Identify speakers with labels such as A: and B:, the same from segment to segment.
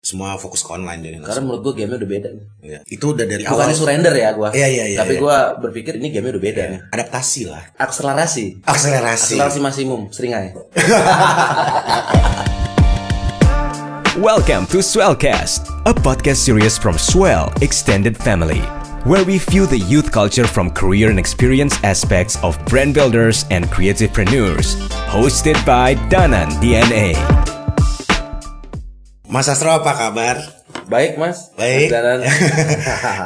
A: semua fokus ke online jadi
B: Karena menurut gue gamenya udah beda. nih.
A: Iya. itu udah dari awal
B: Bukan surrender ya gue.
A: Iya, iya, iya,
B: Tapi
A: iya.
B: gue berpikir ini gamenya udah beda. nih.
A: adaptasi lah Iya.
B: Akselerasi.
A: akselerasi
B: Akselerasi maksimum. Seringai.
C: Welcome to Swellcast, a podcast series from Swell Extended Family, where we view the youth culture from career and experience aspects of brand builders and creativepreneurs. Hosted by Danan DNA.
A: Mas Astro apa kabar
B: Baik mas.
A: Baik.
B: Mas Danan.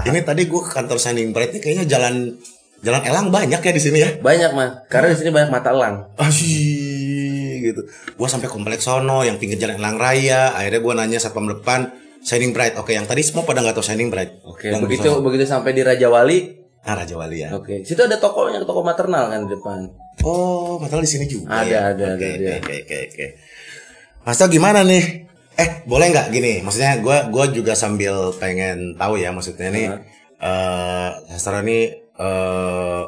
A: ini tadi gue ke kantor Shining Bright nih kayaknya jalan jalan elang banyak ya di sini ya
B: banyak mas. Karena di sini banyak mata elang.
A: Asyik gitu. Gua sampai kompleks sono yang pinggir jalan Elang Raya, akhirnya gua nanya satpam depan Shining Bright. Oke, yang tadi semua pada nggak tahu Shining Bright.
B: Oke.
A: Yang di
B: begitu
A: sono.
B: begitu sampai di Raja Wali.
A: Nah, Raja Wali ya.
B: Oke. Situ ada tokonya, toko maternal kan di depan.
A: Oh, Mas Tau di sini juga. ya?
B: Ada, ada,
A: Oke, oke,
B: ada, ada.
A: oke, oke, oke. Mas Tau gimana nih? Eh, boleh nggak gini? Maksudnya gua gua juga sambil pengen tahu ya maksudnya nih eh Sastro nih eh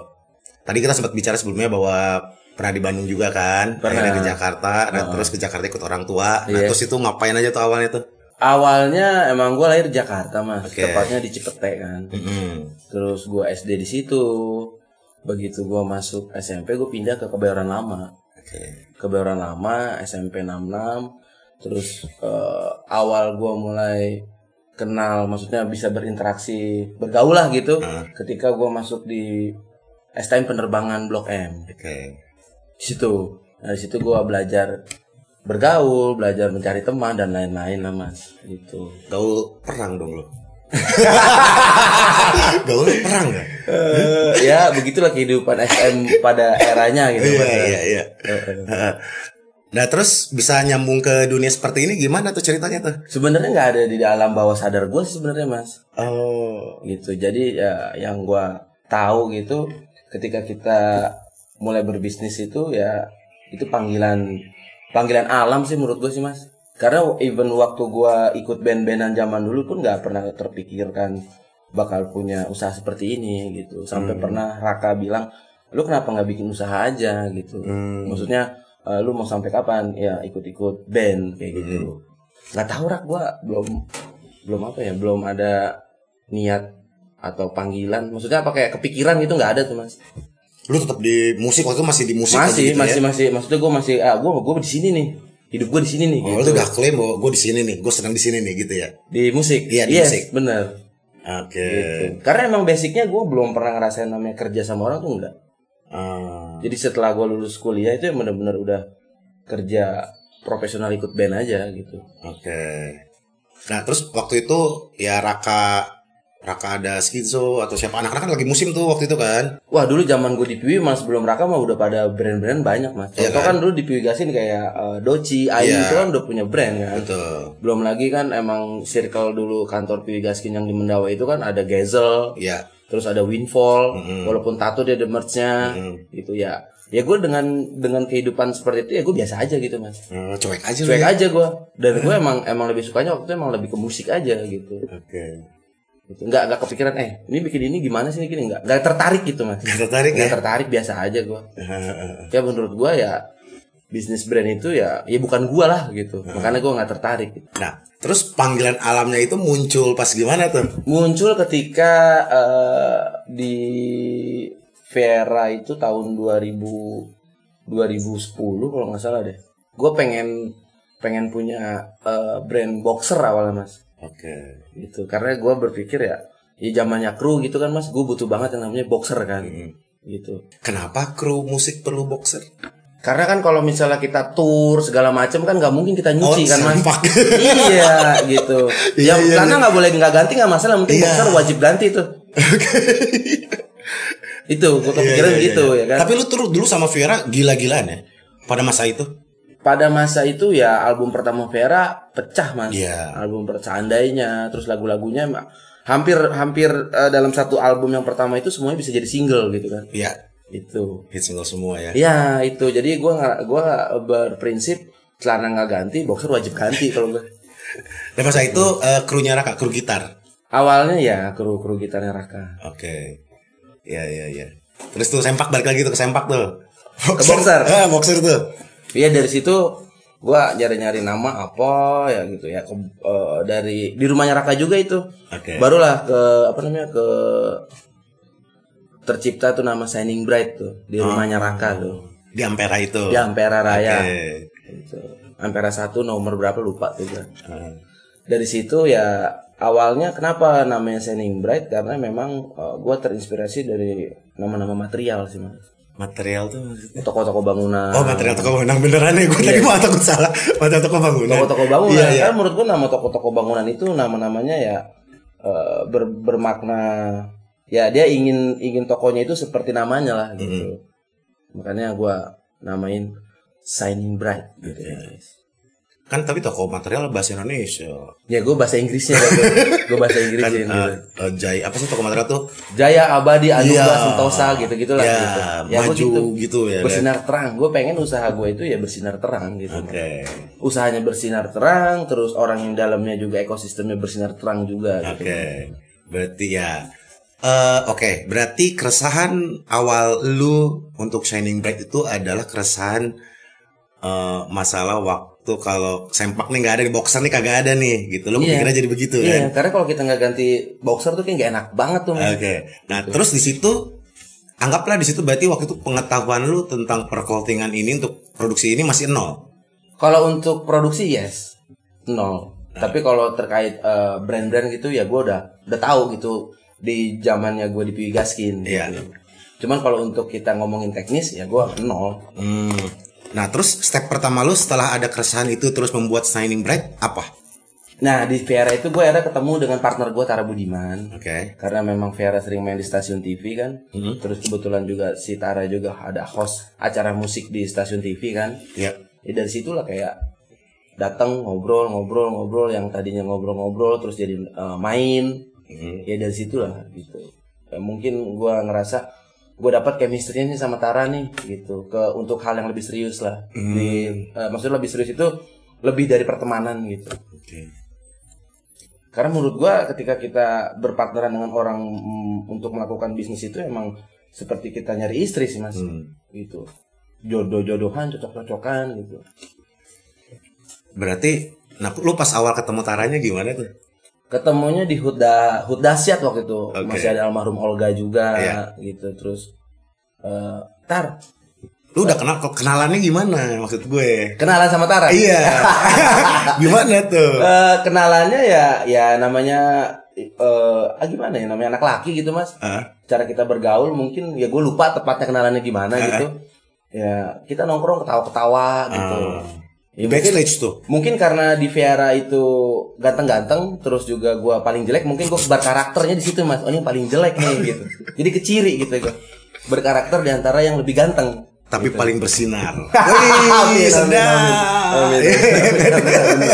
A: tadi kita sempat bicara sebelumnya bahwa pernah di Bandung juga kan,
B: Pernah.
A: akhirnya ke Jakarta, dan terus ke Jakarta ikut orang tua. Nah,
B: Iya.
A: terus itu ngapain aja tuh awalnya tuh?
B: Awalnya emang gue lahir di Jakarta mas,
A: Oke.
B: tepatnya di Cipete kan.
A: Mm-mm.
B: Terus gue SD di situ. Begitu gue masuk SMP, gue pindah ke Kebayoran Lama.
A: Oke.
B: Kebayoran Lama, SMP 66. Terus eh, awal gue mulai kenal, maksudnya bisa berinteraksi, bergaul lah gitu.
A: Ah.
B: Ketika gue masuk di STM penerbangan Blok M.
A: Oke.
B: di situ dari situ gua belajar bergaul belajar mencari teman dan lain-lain lah mas gitu
A: Gaul perang dong lo. Gaul perang ya?
B: ya begitulah kehidupan SM pada eranya gitu
A: Iya
B: Mas. Eh,
A: iya iya. Nah terus bisa nyambung ke dunia seperti ini gimana tuh ceritanya tuh?
B: sebenarnya nggak ada di alam bawah sadar gua sih sebenarnya mas
A: Oh.
B: gitu jadi ya, yang gua tahu gitu ketika kita mulai berbisnis itu ya itu panggilan panggilan alam sih menurut gue sih mas karena even waktu gua ikut band-bandan zaman dulu pun nggak pernah terpikirkan bakal punya usaha seperti ini gitu sampai pernah Raka bilang lu kenapa nggak bikin usaha aja gitu
A: Hmm.
B: maksudnya eh, lu mau sampai kapan ya ikut-ikut band kayak gitu nggak tahu rak gue belum belum apa ya belum ada niat atau panggilan maksudnya apa kayak kepikiran gitu nggak ada tuh mas
A: Lu tetap di musik waktu itu masih di musik aja
B: masih
A: gitu
B: masih
A: ya?
B: masih maksudnya gue masih ah gue gue di sini nih hidup gue di sini nih
A: Oh, lu
B: gitu.
A: udah klaim bahwa gue di sini nih, gue senang di sini nih gitu ya.
B: di musik
A: Iya, di
B: Yes,
A: musik. Iya,
B: bener
A: Oke.
B: Gitu. karena emang basicnya gue belum pernah ngerasain namanya kerja sama orang tuh enggak
A: Ah,
B: jadi setelah gue lulus kuliah itu yang bener-bener udah kerja profesional ikut band aja gitu
A: Oke. Nah terus waktu itu ya Raka Raka ada skizo atau siapa anak-anak kan lagi musim tuh waktu itu kan?
B: Wah dulu zaman gue di PW mas belum Raka mah udah pada brand-brand banyak mas. Contoh
A: Iya kan?
B: kan? dulu di PW Gasin kayak eh, Doci, Ayu
A: Iya.
B: itu kan udah punya brand kan.
A: Betul.
B: Belum lagi kan emang circle dulu kantor PW Gaskin yang di Mendawa itu kan ada Gazel,
A: Iya.
B: terus ada Windfall,
A: Mm-mm.
B: walaupun tato dia ada merchnya
A: Mm.
B: gitu ya. Ya gue dengan dengan kehidupan seperti itu ya gue biasa aja gitu mas.
A: Eh, cuek aja lu
B: Cuek
A: ya.
B: aja gue dan gue emang emang lebih sukanya waktu itu emang lebih ke musik aja gitu.
A: Oke.
B: gitu. Nggak nggak kepikiran eh ini bikin ini gimana sih ini gini nggak nggak tertarik gitu mas.
A: Gak tertarik ya?
B: Nggak tertarik biasa aja gue. ya menurut gua ya bisnis brand itu ya ya bukan gua lah gitu makanya gua nggak tertarik gitu.
A: Nah, terus panggilan alamnya itu muncul pas gimana tuh?
B: muncul ketika eh, di Vera itu tahun 2000 2010 kalau nggak salah deh gua pengen pengen punya eh, brand boxer awalnya mas
A: Oke.
B: gitu karena gua berpikir ya ya zamannya kru gitu kan mas gue butuh banget yang namanya boxer kan gitu
A: Kenapa kru musik perlu boxer?
B: Karena kan kalau misalnya kita tour segala macam kan nggak mungkin kita
A: Oh,
B: nyuci kan mas.
A: serempak.
B: iya gitu.
A: Iya,
B: yang
A: iya,
B: karena
A: iya.
B: nggak boleh nggak ganti nggak masalah, yang penting
A: Iya.
B: boxer wajib ganti itu. itu gue kepikiran
A: Iya, iya,
B: gitu
A: iya.
B: ya kan.
A: Tapi lu turut dulu sama Viera gila-gilaan ya pada masa itu.
B: Pada masa itu ya album pertama Vera pecah mas.
A: Iya.
B: Album bercandainya, terus lagu-lagunya emang hampir hampir eh, dalam satu album yang pertama itu semuanya bisa jadi single gitu kan.
A: Iya,
B: Itu.
A: hit single semua ya.
B: Ya itu jadi gue gua berprinsip celana nggak ganti boxer wajib ganti kalau gue
A: Dan masa itu eh, krunya Raka, kru gitar.
B: awalnya ya kru kru gitarnya Raka
A: Oke. Iya, iya, iya. Terus Eh, tuh sempak balik lagi tuh ke sempak tuh.
B: boxer.
A: Ah, boxer tuh.
B: Iya dari situ gua nyari-nyari nama apa ya gitu ya Ke- eh, dari di rumahnya Raka juga itu
A: Oke.
B: barulah ke apa namanya ke tercipta tuh nama Shining Bright tuh di
A: Ah.
B: rumahnya Raka tuh
A: Di Ampera itu.
B: di Ampera Raya
A: Oke.
B: gitu. Ampera satu nomor berapa lupa tuh gua.
A: Hmm.
B: dari situ ya awalnya kenapa namanya Shining Bright karena memang eh, gua terinspirasi dari nama-nama material sih mas
A: Material tuh maksudnya.
B: toko-toko bangunan
A: Oh material toko bangunan beneran ya gue tadi mau takut salah material toko bangunan.
B: toko-toko bangunan
A: Iya iya.
B: Karena menurut gua nama toko-toko bangunan itu nama-namanya ya eh, ber- bermakna ya dia ingin ingin tokonya itu seperti namanya lah gitu
A: Mm-hmm.
B: makanya gua namain Shining Bright gitu ya
A: Iya.
B: guys
A: Kan tapi toko material bahasa Indonesia.
B: ya gue bahasa Inggrisnya gue gue
A: Kan
B: bahasa Inggrisnya gitu.
A: eh, eh, Jai apa sih toko material tuh?
B: Jaya Abadi Anugrah
A: Iya.
B: Sentosa gitu gitulah
A: Ya,
B: gitu
A: maju
B: gua
A: gitu ya,
B: bersinar terang gue pengen usaha gue itu ya bersinar terang gitu
A: Oke.
B: usahanya bersinar terang terus orang yang dalamnya juga ekosistemnya bersinar terang juga
A: Oke,
B: gitu.
A: berarti ya. eh Oke, berarti keresahan awal lu untuk Shining Bright itu adalah keresahan eh, masalah waktu kalau sempak nih nggak ada di boxer nih kagak ada nih gitu. Lu
B: Iya.
A: mikirnya jadi begitu
B: Iya,
A: kan?
B: karena kalau kita nggak ganti boxer tuh kayak nggak enak banget tuh.
A: Oke. Nah, terus di situ anggaplah di situ berarti waktu itu pengetahuan lu tentang perclotingan ini untuk produksi ini masih nol.
B: Kalau untuk produksi yes, nol. Tapi kalau terkait eh, brand-brand gitu ya gue udah udah tahu gitu di zamannya gue di PW Gaskin.
A: Iya.
B: gitu. Cuman kalau untuk kita ngomongin teknis ya gue nol.
A: Hmm. Nah, terus step pertama lu setelah ada keresahan itu terus membuat Shining Bright apa?
B: Nah di Viera itu gue akhirnya ketemu dengan partner gue Tara Budiman.
A: Oke.
B: Karena memang Viera sering main di stasiun TV kan.
A: Mhm.
B: Terus kebetulan juga si Tara juga ada host acara musik di stasiun TV kan.
A: Ya.
B: ya dari situlah kayak datang ngobrol ngobrol ngobrol yang tadinya ngobrol-ngobrol terus jadi eh, main
A: Hmm.
B: ya dari situlah gitu Eh, mungkin gua ngerasa gue dapat chemistry-nya nih sama Tara nih gitu ke untuk hal yang lebih serius lah
A: Hmm.
B: di eh, maksudnya lebih serius itu lebih dari pertemanan gitu
A: Oke.
B: karena menurut gua ketika kita berpartneran dengan orang mm, untuk melakukan bisnis itu emang seperti kita nyari istri sih mas
A: Hmm.
B: gitu jodoh-jodohan cocok-cocokan gitu
A: Berarti nah lu pas awal ketemu Taranya gimana tuh?
B: ketemunya di Huda Hudasiat waktu itu
A: Oke.
B: masih ada almarhum Olga juga
A: Iya.
B: gitu terus eh, Tar
A: Lu udah kenal kok kenalannya gimana maksud gue?
B: kenalan sama Tara
A: Iya. gimana tuh?
B: Eh, kenalannya ya ya namanya eh ah, gimana ya namanya anak laki gitu mas
A: Ah,
B: cara kita bergaul mungkin ya gue lupa tepatnya kenalannya
A: Ah.
B: gimana gitu ya kita nongkrong ketawa-ketawa gitu
A: Ah.
B: Ya, mungkin-
A: backstage tuh.
B: Mungkin karena di Viera itu ganteng-ganteng, terus juga gua paling jelek, mungkin gua berkarakternya di situ mas. Oh ini yang paling jelek nih gitu. Jadi keciri gitu gua. Berkarakter di antara yang lebih ganteng.
A: Tapi paling bersinar.
B: Amin,
A: Wih,
B: amin,
A: sedap.
B: amin. Amin, amin, amin.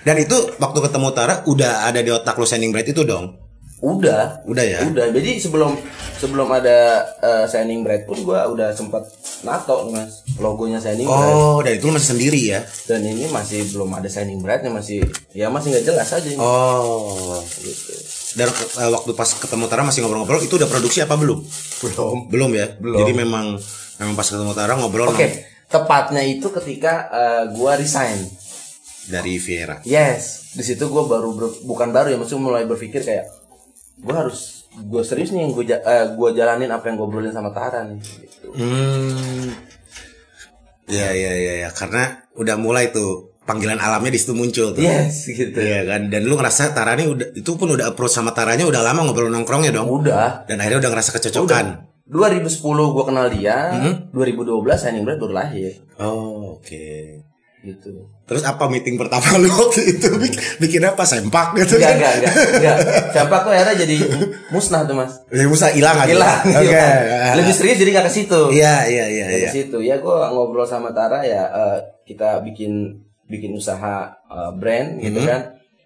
A: Dan itu waktu ketemu Tara udah ada di otak lu Shining Bright itu dong.
B: Udah,
A: Udah ya?
B: udah. Jadi sebelum sebelum ada eh, Shining Bright pun gua udah sempat nato nih, mas logonya Shining Bright.
A: Oh, dan itu lu masih sendiri ya.
B: Dan ini masih belum ada Shining Brightnya masih ya masih nggak jelas aja. ini.
A: Oh.
B: Gitu.
A: Dan eh, waktu pas ketemu Tara masih ngobrol-ngobrol itu udah produksi apa belum?
B: Belum.
A: Belum ya.
B: Belum.
A: Jadi memang memang pas ketemu Tara ngobrol
B: Oke, tepatnya itu ketika eh, gua resign.
A: dari Viera.
B: Yes, di situ gua baru ber- bukan baru ya, maksudnya mulai berpikir kayak gua harus gua serius nih yang gua ja- eh, gua jalanin apa yang gua obrolin sama Tara nih. Gitu.
A: Hmm. Ya ya ya ya karena udah mulai tuh panggilan alamnya di situ muncul tuh.
B: Yes, gitu.
A: Iya kan dan lu ngerasa Tarani udah itu pun udah approach sama Taranya udah lama ngobrol nongkrongnya dong.
B: Udah,
A: Dan akhirnya udah ngerasa kecocokan.
B: 2010 gua kenal dia, 2012 Shining Bright baru lahir
A: Oh, oke.
B: gitu.
A: Terus apa meeting pertama lu waktu itu Bik- bikin apa sempak gitu
B: Enggak,
A: kan?
B: enggak, enggak, enggak. Campak tuh akhirnya jadi musnah tuh, Mas.
A: Ya usah hilang aja.
B: Hilang.
A: Oke.
B: hilang. Lebih serius jadi nggak ke situ.
A: Iya iya iya
B: dari
A: iya.
B: situ ya gue ngobrol sama Tara ya eh, kita bikin bikin usaha eh, brand gitu
A: Mm-hmm.
B: kan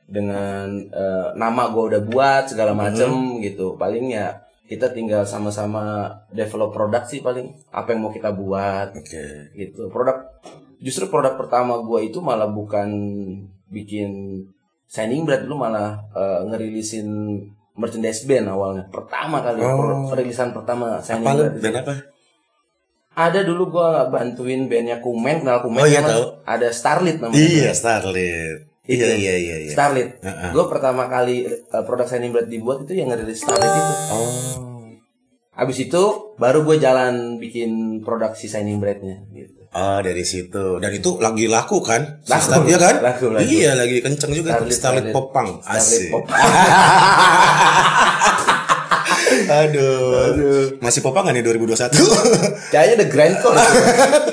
B: dengan eh, nama gue udah buat segala
A: Mm-hmm.
B: macem gitu paling ya kita tinggal sama-sama develop produk sih paling apa yang mau kita buat
A: Oke.
B: gitu produk justru produk pertama gue itu malah bukan bikin signing brand dulu malah eh, ngerilisin merchandise band awalnya pertama kali
A: Oh.
B: perilisan pertama signing
A: Apa lu
B: brand
A: dan apa?
B: Ada dulu gua bantuin bandnya Kumen, kenal Kumen.
A: Oh, iya,
B: Mas.
A: tahu.
B: Ada Starlit namanya.
A: Iya, Starlit. Iya, iya, iya, iya.
B: Starlit.
A: Heeh.
B: Gue pertama kali eh, produk Sunny Bread dibuat itu yang ngerilis Starlit itu.
A: Oh.
B: Abis itu baru gue jalan bikin produksi signing breadnya gitu.
A: Oh, dari situ. Dan itu lagi laku kan? Si
B: Laku.
A: Starlit, iya kan?
B: Laku, laku.
A: Iya, lagi kenceng juga.
B: Starlit,
A: Starlit,
B: Starlit.
A: Popang. Asik.
B: Starlit Popang.
A: Aduh. Masih Popang nggak nih 2021?
B: Kayaknya The Grand Call. itu.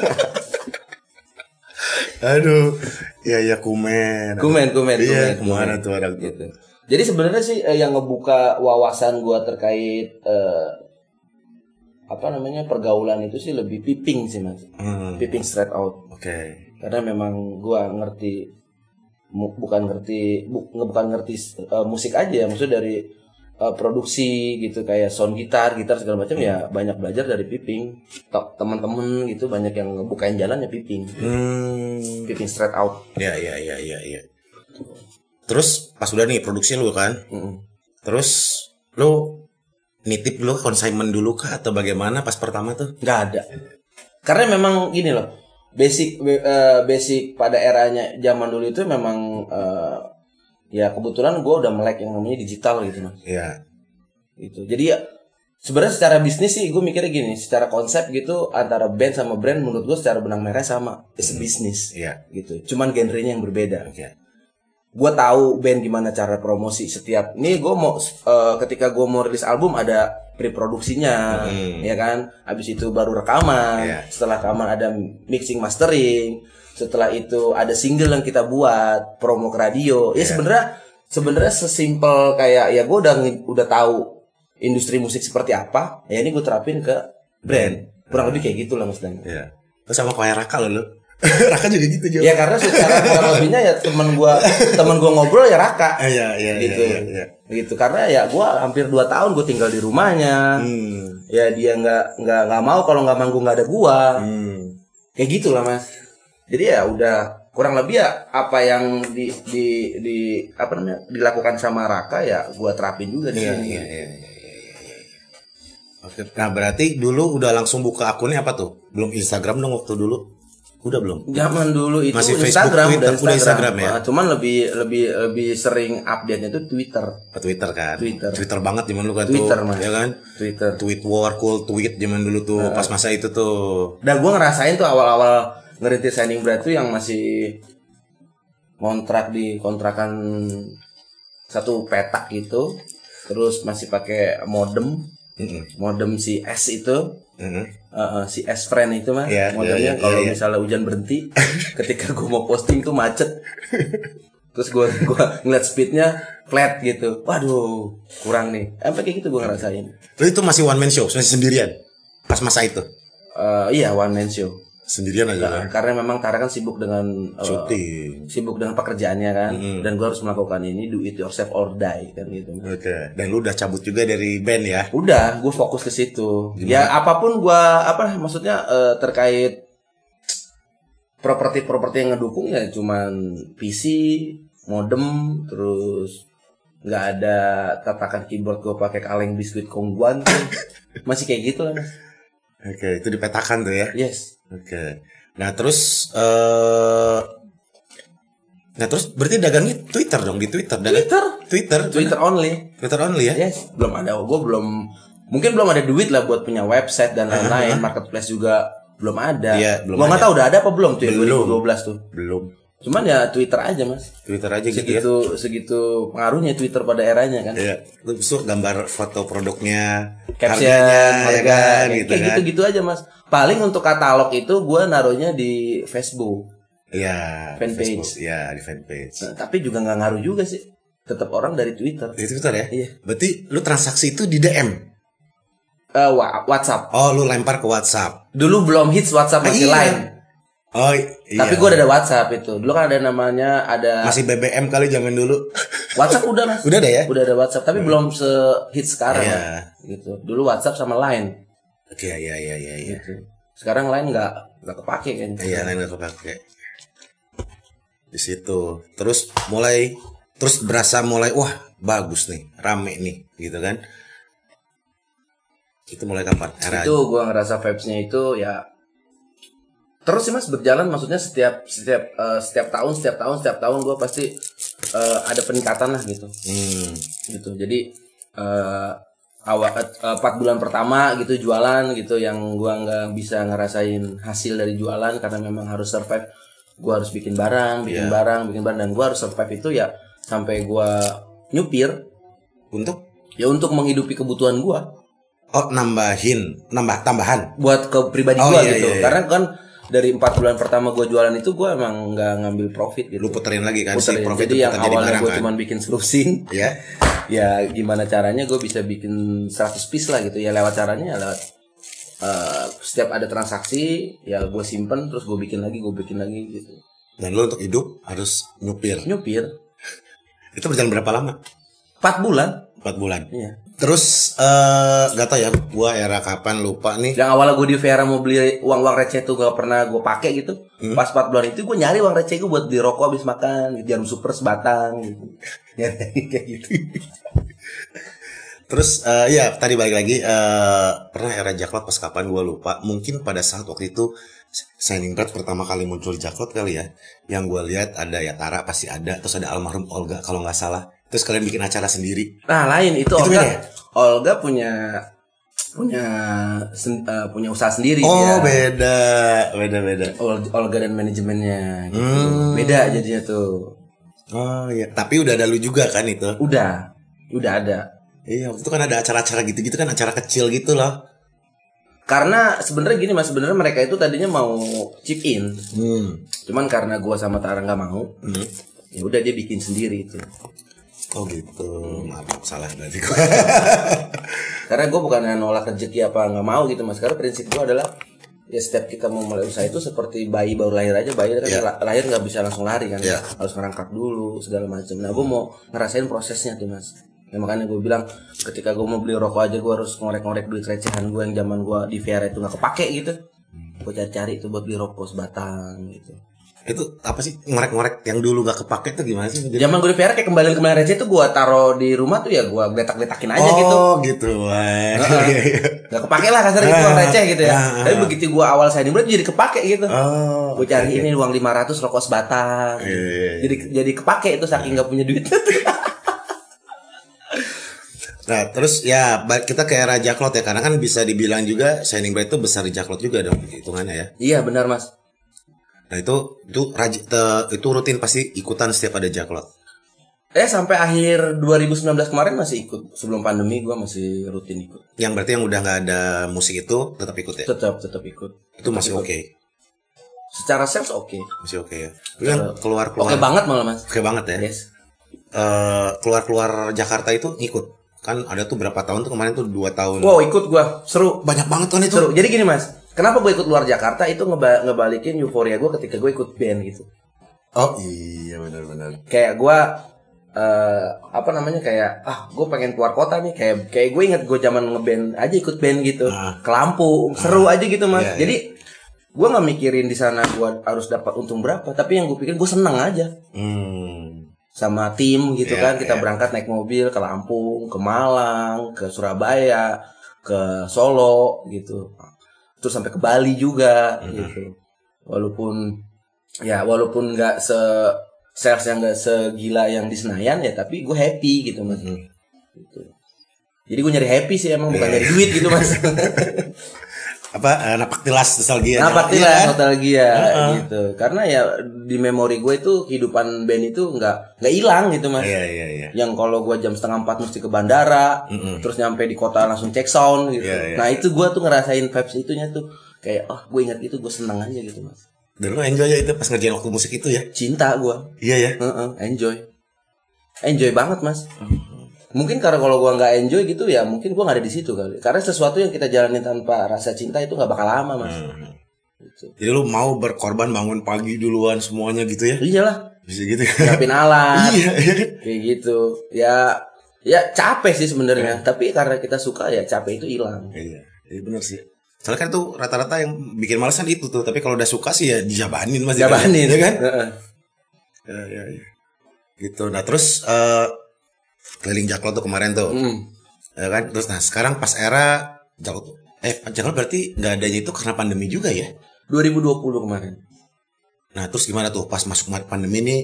A: Aduh. Iya, iya, kumen.
B: kumen, kumen,
A: Iya,
B: kumen.
A: kemana
B: kumen.
A: tuh ada
B: Gitu. Jadi sebenarnya sih eh, yang ngebuka wawasan gue terkait eh, apa namanya pergaulan itu sih lebih piping sih mas,
A: Hmm, Oke.
B: piping straight out. Karena memang gue ngerti mu- bukan ngerti bu- nge- bukan ngerti eh, musik aja, maksudnya dari eh, produksi gitu kayak sound gitar, gitar segala macam ya banyak belajar dari piping. Tok- Teman-teman gitu banyak yang ngebukain jalannya piping,
A: Hmm.
B: piping straight out.
A: Ya, ya, ya, ya, ya. Terus pas udah nih produksi lu kan?
B: Mm-mm.
A: Terus lu nitip dulu consignment dulu kah atau bagaimana pas pertama tuh?
B: nggak ada karena memang gini loh basic be- eh, basic pada eranya zaman dulu itu memang eh, ya kebetulan gue udah melek yang namanya digital gitu mas
A: Iya.
B: gitu jadi ya sebenarnya secara bisnis sih gue mikirnya gini secara konsep gitu antara band sama brand menurut gue secara benang merah sama it's a business
A: Iya.
B: gitu cuman genrenya yang berbeda
A: Oke.
B: gue tahu band gimana cara promosi setiap nih gue mau eh, ketika gue mau rilis album ada pre-produksinya
A: Hmm.
B: ya kan habis itu baru rekaman
A: Iya.
B: setelah rekaman ada mixing mastering setelah itu ada single yang kita buat promo ke radio ya
A: Iya.
B: sebenarnya sebenarnya sesimpel kayak ya gue udah nge- udah tahu industri musik seperti apa ya ini gue terapin ke brand kurang lebih kayak gitu gitulah mas Dan
A: Iya. Terus sama kayak Raka lo lu. Raka juga gitu juga.
B: ya karena secara kurang lebihnya ya teman gue teman gue ngobrol ya raka
A: Iya, iya, iya,
B: gitu
A: iya, iya.
B: gitu karena ya gua hampir 2 tahun gue tinggal di rumahnya
A: Hmm.
B: ya dia nggak nggak nggak mau kalau nggak manggung nggak ada gua
A: Hmm.
B: kayak gitulah mas jadi ya udah kurang lebih ya apa yang di di di apa namanya dilakukan sama Raka ya gua terapin juga di
A: Iya,
B: sini
A: iya, iya, iya, iya, iya, iya. Oke. Nah, berarti dulu udah langsung buka akunnya apa tuh? Belum Instagram dong waktu dulu. Udah belum?
B: zaman dulu itu
A: Masih Facebook,
B: Instagram
A: Twitter,
B: udah
A: udah
B: Instagram,
A: Instagram ya?
B: Nah, cuman lebih lebih lebih sering update nya itu Twitter
A: Ke Twitter kan?
B: Twitter.
A: banget zaman lu kan
B: Twitter,
A: tuh.
B: Mas.
A: Ya kan?
B: Twitter
A: Tweet war, cool tweet zaman dulu tuh pas masa itu tuh.
B: Dan gue ngerasain tuh awal-awal ngerintis signing bread tuh yang masih kontrak di kontrakan satu petak gitu. Terus masih pakai modem,
A: Heeh.
B: modem si S itu,
A: Heeh.
B: eh, eh, si S friend itu mah.
A: Iya, iya,
B: modemnya
A: iya,
B: kalau
A: iya.
B: misalnya hujan berhenti, ketika gue mau posting tuh macet. Terus gue gua ngeliat speednya flat gitu. Waduh, kurang nih. Sampai kayak gitu gue ngerasain.
A: Lu itu masih one man show, masih sendirian. Pas masa itu.
B: Eh, iya one man show.
A: Sendirian aja kan.
B: Karena memang Tara kan sibuk dengan eh,
A: Syuting. Mm-hmm.
B: sibuk dengan pekerjaannya kan dan gue harus melakukan ini do it yourself or die kan gitu
A: Oke. Dan lu udah cabut juga dari band ya?
B: udah gue fokus ke situ ya apapun gue apa maksudnya eh, terkait properti-properti yang ngedukung ya cuman PC modem terus nggak ada tatakan keyboard gue pakai kaleng biskuit kongguan tuh. masih kayak gitu lah Mas.
A: Oke, itu dipetakan tuh ya.
B: yes
A: Oke. Nah, terus eh Nah, terus berarti dagangnya Twitter dong, di Twitter. Dagang
B: Twitter
A: Twitter.
B: Twitter only
A: Twitter only ya?
B: Yes, belum ada. Gue belum mungkin belum ada duit lah buat punya website dan lain-lain. Marketplace juga belum ada.
A: Iya, belum
B: Gua nggak
A: ada.
B: tahu udah ada apa belum tuh ya,
A: Belum.
B: 2012 tuh.
A: Belum.
B: Cuman ya Twitter aja mas.
A: Twitter aja gitu ya.
B: Segitu segitu pengaruhnya Twitter pada eranya kan.
A: Iya. Terus tuh gambar foto produknya,
B: Caption,
A: harganya, ya
B: harga,
A: kan,
B: kayak-
A: gitu
B: kayak
A: kan.
B: gitu-gitu aja mas. Paling untuk katalog itu gue naruhnya di Facebook.
A: Iya. di
B: Fanpage.
A: Facebook. Iya, di fanpage.
B: Nah, tapi juga nggak ngaruh juga sih. Tetap orang dari Twitter.
A: Di Twitter ya?
B: Iya.
A: Berarti lu transaksi itu di DM.
B: Eh, wa- WhatsApp.
A: Oh, lu lempar ke WhatsApp.
B: Dulu belum hits WhatsApp masih
A: Iya.
B: lain.
A: Oh, i- iya.
B: Tapi gue udah ada WhatsApp itu. Dulu kan ada namanya ada
A: masih BBM kali zaman dulu.
B: WhatsApp udah mas.
A: Udah deh ya?
B: Udah ada WhatsApp tapi belum se hit sekarang.
A: Iya.
B: Mas. Gitu. Dulu WhatsApp sama Line.
A: Oke, iya iya iya iya.
B: Gitu. Sekarang Line nggak nggak kepake kan.
A: Iya, lain gak kepake. Di situ. Terus mulai terus berasa mulai wah, bagus nih, rame nih, gitu kan. Itu mulai kapan? Era
B: Itu gua ngerasa vibes-nya itu ya terus sih mas berjalan maksudnya setiap setiap eh, setiap tahun setiap tahun setiap tahun gue pasti eh, ada peningkatan lah gitu
A: Hmm.
B: gitu jadi eh awal eh, empat bulan pertama gitu jualan gitu yang gua nggak bisa ngerasain hasil dari jualan karena memang harus survive gua harus bikin barang
A: Iya.
B: bikin barang bikin barang dan gua harus survive itu ya sampai gua nyupir
A: Untuk
B: ya untuk menghidupi kebutuhan gua
A: oh nambahin, nambah tambahan.
B: buat ke pribadi
A: Oh,
B: gua
A: iya, iya,
B: gitu
A: iya.
B: karena kan dari empat bulan pertama gua jualan itu gua emang nggak ngambil profit
A: Lu
B: gitu
A: puterin lagi kan si
B: Puterin.
A: profit
B: jadi yang
A: putar jadi
B: awalnya
A: barang
B: gua
A: kan.
B: cuma bikin selusing
A: Ya.
B: ya gimana caranya gue bisa bikin 100 piece lah gitu ya lewat caranya ya lewat eh, setiap ada transaksi ya gue simpen terus gue bikin lagi gue bikin lagi gitu
A: Dan lu untuk hidup harus nyupir.
B: nyupir
A: Itu berjalan berapa lama?
B: 4 bulan
A: 4 bulan.
B: iya
A: Terus eh gak tau ya, gua era kapan lupa nih.
B: yang awalnya gue di Vera mau beli uang uang receh tuh gak pernah gue pakai gitu
A: Hmm.
B: pas 4 bulan itu gue nyari uang receh gue buat beli rokok habis makan gitu. jarum super sebatang gitu nyari kayak gitu
A: Terus eh ya tadi balik lagi eh pernah era Jaklot pas kapan gua lupa. Mungkin pada saat waktu itu Shining Bread pertama kali muncul Jaklot kali ya. Yang gua lihat ada ya Tara pasti ada, terus ada almarhum Olga kalau nggak salah. Terus kalian bikin acara sendiri.
B: nah lain itu,
A: Itu beda
B: Olga
A: ya?
B: Olga punya punya sen- eh, punya usaha sendiri
A: Oh,
B: dia.
A: beda. Beda-beda.
B: Ol- Olga dan manajemennya gitu.
A: Hmm.
B: Beda jadinya tuh.
A: Oh iya, tapi udah ada lu juga kan itu.
B: Udah, udah ada.
A: Iya, waktu itu kan ada acara-acara gitu-gitu kan acara kecil gitu loh.
B: Karena sebenarnya gini Mas, sebenarnya mereka itu tadinya mau chip in.
A: Hmm.
B: Cuman karena gua sama Tara nggak mau, ya udah dia bikin sendiri itu.
A: Oh gitu. Maaf, salah berarti gua.
B: Karena gua bukan nolak rezeki apa nggak mau gitu Mas. Karena prinsip gua adalah ya setiap kita mau mulai usaha itu seperti bayi baru lahir aja bayi kan
A: Iya.
B: la- lahir nggak bisa langsung lari kan
A: Iya.
B: harus ngerangkak dulu segala macam nah gue mau ngerasain prosesnya tuh mas ya, makanya gue bilang ketika gue mau beli rokok aja gue harus ngorek-ngorek duit recehan gue yang zaman gue di VR itu nggak kepake gitu gue cari-cari itu buat beli rokok sebatang gitu
A: itu apa sih ngorek-ngorek yang dulu gak kepake tuh gimana sih?
B: zaman gue di VR kayak kembali kembali receh itu gue taruh di rumah tuh ya gue geletak-geletakin aja gitu
A: oh gitu. Wah. Iya, iya.
B: nggak kepake lah kasar gitu uang
A: Ah,
B: receh gitu ya
A: ah, ah.
B: tapi begitu gue awal saya dimulai jadi kepake gitu
A: oh.
B: gue cari ini uang 500 rokok sebatang
A: Iya, iya, iya.
B: jadi jadi kepake itu saking nggak punya duit
A: Nah terus ya ba- kita ke era Jaklot ya karena kan bisa dibilang juga Shining Bright itu besar di Jaklot juga dong hitungannya ya.
B: iya benar mas
A: Nah itu itu raj- te- itu rutin pasti ikutan setiap ada Jaklot.
B: eh sampai akhir 2019 kemarin masih ikut sebelum pandemi gue masih rutin ikut
A: Yang berarti yang udah nggak ada musik itu tetap ikut ya.
B: tetap tetap ikut
A: Itu masih oke,
B: secara sales oke
A: masih oke ya. Lu yang keluar
B: oke
A: keluar
B: banget malah mas
A: Oke banget ya.
B: yes
A: keluar keluar Jakarta itu ngikut. Kan ada tuh berapa tahun tuh kemarin tuh dua tahun.
B: wow ikut gue seru
A: Banyak banget kan itu.
B: seru jadi gini mas kenapa gue ikut luar Jakarta itu ngeba- ngebalikin euforia gue ketika gue ikut band gitu
A: Oh iya benar-benar.
B: kayak gua eh apa namanya kayak ah gue pengen keluar kota nih kayak kayak gue inget gue zaman ngeband aja ikut band gitu
A: Ah.
B: ke Lampung seru aja gitu
A: Iya,
B: mas
A: iya.
B: jadi gua nggak mikirin di sana gua harus dapat untung berapa tapi yang gue pikir gue seneng aja
A: Hmm.
B: sama tim gitu
A: Iya,
B: kan
A: iya.
B: kita berangkat naik mobil ke Lampung ke Malang ke Surabaya ke Solo gitu terus sampai ke Bali juga
A: Mhm.
B: gitu walaupun ya walaupun nggak se sales yang nggak segila yang di Senayan ya tapi gue happy gitu mas
A: Mhm.
B: gitu. jadi gue nyari happy sih emang bukan
A: Iya,
B: nyari duit gitu mas
A: Apa eh, napak tilas nostalgia. Iya
B: Kenapa tidak
A: kan?
B: nostalgia
A: Heeh.
B: gitu? Karena ya di memori gue itu kehidupan band itu nggak nggak hilang gitu mas.
A: Iya iya iya.
B: Yang kalau gue jam setengah empat mesti ke bandara,
A: Mm-mm.
B: terus nyampe di kota langsung check sound gitu.
A: Iya, iya.
B: Nah itu gue tuh ngerasain vibes itunya tuh kayak oh gue ingat itu gue seneng aja gitu mas.
A: Dan lu enjoy ya itu pas ngerjain waktu musik itu ya.
B: Cinta gue,
A: Iya ya.
B: Heeh, enjoy, enjoy banget mas. Mm-hmm. Mungkin karena kalau gue nggak enjoy gitu ya mungkin gue nggak ada di situ kali. Karena sesuatu yang kita jalani tanpa rasa cinta itu nggak bakal lama mas.
A: Hmm.
B: Gitu.
A: Jadi lu mau berkorban bangun pagi duluan semuanya gitu
B: Iya.
A: ya.
B: Iyalah,
A: Bisa gitu.
B: siapin alat,
A: iya iya kan?
B: kayak gitu ya ya capek sih sebenarnya tapi karena kita suka ya capek itu hilang
A: Iya. Iya benar sih. Soalnya kan tuh rata-rata yang bikin malesan itu tuh, tapi kalau udah suka sih ya dijabanin mas. ya
B: jabanin
A: kan?
B: Heeh.
A: Ya, ya, ya. Gitu. Nah terus eh keliling Jaklo tuh kemarin tuh,
B: Mm.
A: ya kan? Terus nah sekarang pas era Jaklo, eh Jaklo berarti nggak adanya itu karena pandemi juga ya?
B: 2020 kemarin.
A: Nah terus gimana tuh pas masuk pandemi ini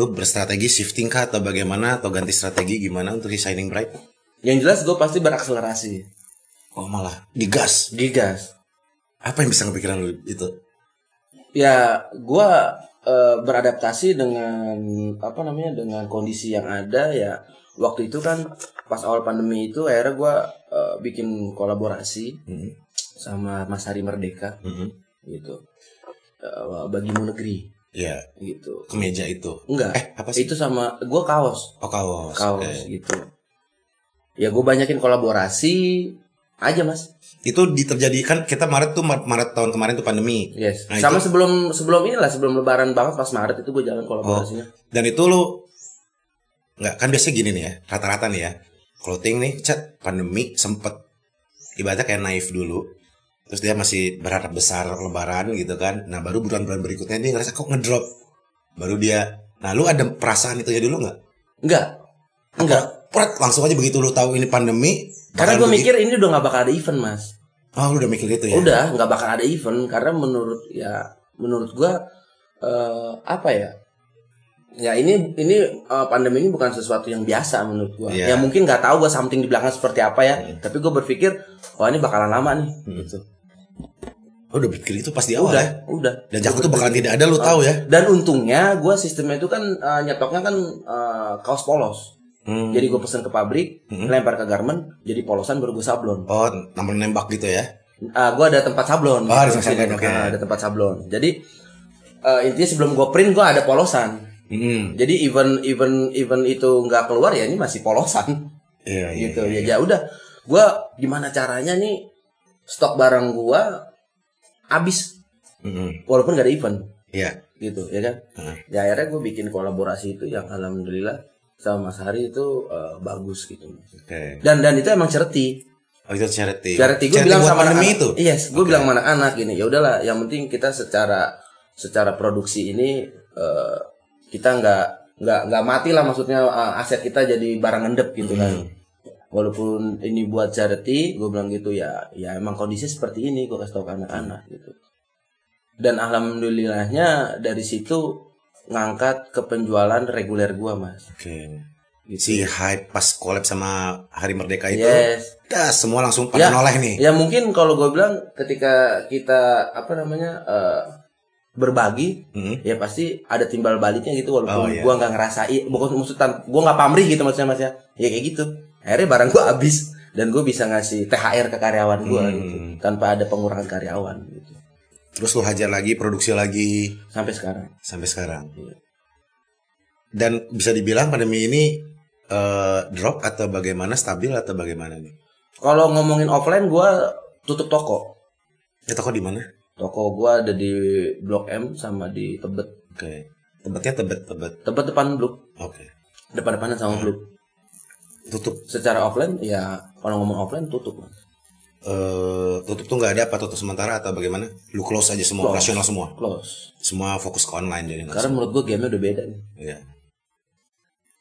A: lu berstrategi shifting kah atau bagaimana atau ganti strategi gimana untuk di Shining Bright?
B: Yang jelas gue pasti berakselerasi,
A: Oh malah digas.
B: digas.
A: Apa yang bisa kepikiran lu itu?
B: Ya gue eh, beradaptasi dengan apa namanya dengan kondisi yang ada ya. Waktu itu kan pas awal pandemi itu akhirnya gue eh, bikin kolaborasi
A: Mhm.
B: sama Mas Hari Merdeka
A: Mhm.
B: gitu. Eh, bagimu negeri
A: Ya
B: gitu.
A: kemeja itu.
B: Enggak.
A: Eh apa sih?
B: Itu sama gue kaos.
A: Oh kaos.
B: kaos
A: Eh,
B: gitu ya gue banyakin kolaborasi aja mas
A: Itu diterjadikan kita Maret tuh Mar- Maret tahun kemarin tuh pandemi
B: yes
A: Nah,
B: sama
A: itu-
B: sebelum sebelum inilah sebelum lebaran banget pas maret itu gue jalan kolaborasinya
A: dan itu lu nggak kan biasanya gini nih ya rata-rata nih ya clothing nih cat pandemi sempet ibaratnya kayak naif dulu terus dia masih berharap besar lebaran gitu kan nah baru bulan-bulan berikutnya dia ngerasa kok ngedrop baru dia nah lu ada perasaan itu ya dulu nggak
B: enggak enggak
A: Pret, langsung aja begitu lu tahu ini pandemi
B: karena
A: bahkan
B: gue
A: begi-
B: mikir ini udah nggak bakal ada event mas
A: oh lu udah mikir itu ya
B: udah nggak bakal ada event karena menurut ya menurut gue eh, apa ya ya ini ini eh, pandemi ini bukan sesuatu yang biasa menurut gue
A: Iya.
B: ya mungkin nggak tahu gue something di belakang seperti apa ya
A: Hmm.
B: tapi gue berpikir wah ini bakalan lama nih
A: Hmm.
B: gitu
A: Oh, udah mikir itu pas di awal
B: udah
A: ya
B: udah
A: dan jago tuh bakalan tidak ada lu tahu ya
B: Dan untungnya gue sistemnya itu kan eh, nyetoknya kan eh, kaos polos. Jadi gue pesen ke pabrik,
A: Hmm.
B: lempar ke garment, jadi polosan baru gue sablon.
A: oh namanya nembak gitu ya
B: gue ada tempat sablon.
A: Oh, ada tempat
B: Sini.
A: sablon, oke.
B: Ah, ada tempat sablon. Jadi eh, intinya sebelum gue print gue ada polosan.
A: Hmm.
B: Jadi even even even itu nggak keluar ya ini masih polosan
A: Iya, iya,
B: gitu.
A: iya.
B: Ya ya udah, gue gimana caranya nih stok barang gue habis
A: Mm-mm.
B: walaupun gak ada event
A: Hmm. Iya. Nah,
B: gitu ya kan
A: Heeh.
B: ya akhirnya gue bikin kolaborasi itu yang alhamdulillah sama Mas Hari itu eh, bagus gitu
A: Oke.
B: dan dan itu emang ceriti
A: Oh itu charity.
B: ceriti gue bilang
A: buat
B: sama
A: pandemi
B: anak Iya.
A: itu.
B: yes
A: Oke.
B: gue bilang sama anak-anak gini ya udahlah yang penting kita secara secara produksi ini eh, kita nggak nggak nggak mati lah maksudnya eh, aset kita jadi barang ngendep gitu kan
A: Hmm.
B: walaupun ini buat charity gue bilang gitu ya ya emang kondisi seperti ini gue kasih tau ke
A: Hmm.
B: anak-anak gitu dan alhamdulillahnya dari situ ngangkat ke penjualan reguler gue mas
A: Oke. Si
B: gitu Iya.
A: hype pas collab sama Hari Merdeka itu,
B: yes
A: dah semua langsung pada
B: Ya.
A: noleh nih.
B: ya mungkin kalau gue bilang ketika kita apa namanya eh, berbagi
A: Hmm.
B: ya pasti ada timbal baliknya gitu
A: Oh,
B: walaupun
A: iya.
B: gue nggak ngerasain bukan maksud gue nggak pamrih gitu maksudnya mas ya ya kayak gitu akhirnya barang gue habis dan gue bisa ngasih THR ke karyawan gue
A: Hmm.
B: gitu tanpa ada pengurangan karyawan gitu
A: Terus lu hajar lagi, produksi lagi
B: sampai sekarang
A: sampai sekarang.
B: Iya.
A: Dan bisa dibilang pandemi ini eh, drop atau bagaimana stabil atau bagaimana nih?
B: kalau ngomongin offline gue tutup toko
A: Ya toko di mana?
B: toko gue ada di blok M sama di Tebet
A: Oke. Tebetnya tebet tebet.
B: Tebet depan blok
A: Oke.
B: depan depanan sama blok
A: Tutup
B: secara offline ya kalau ngomong offline tutup Mas.
A: eh, tutup tuh nggak ada apa tutup sementara atau bagaimana? Lu close aja semua
B: Close.
A: operasional semua.
B: close
A: Semua fokus ke online jadi langsung.
B: karena menurut gue gamenya udah beda nih
A: Iya.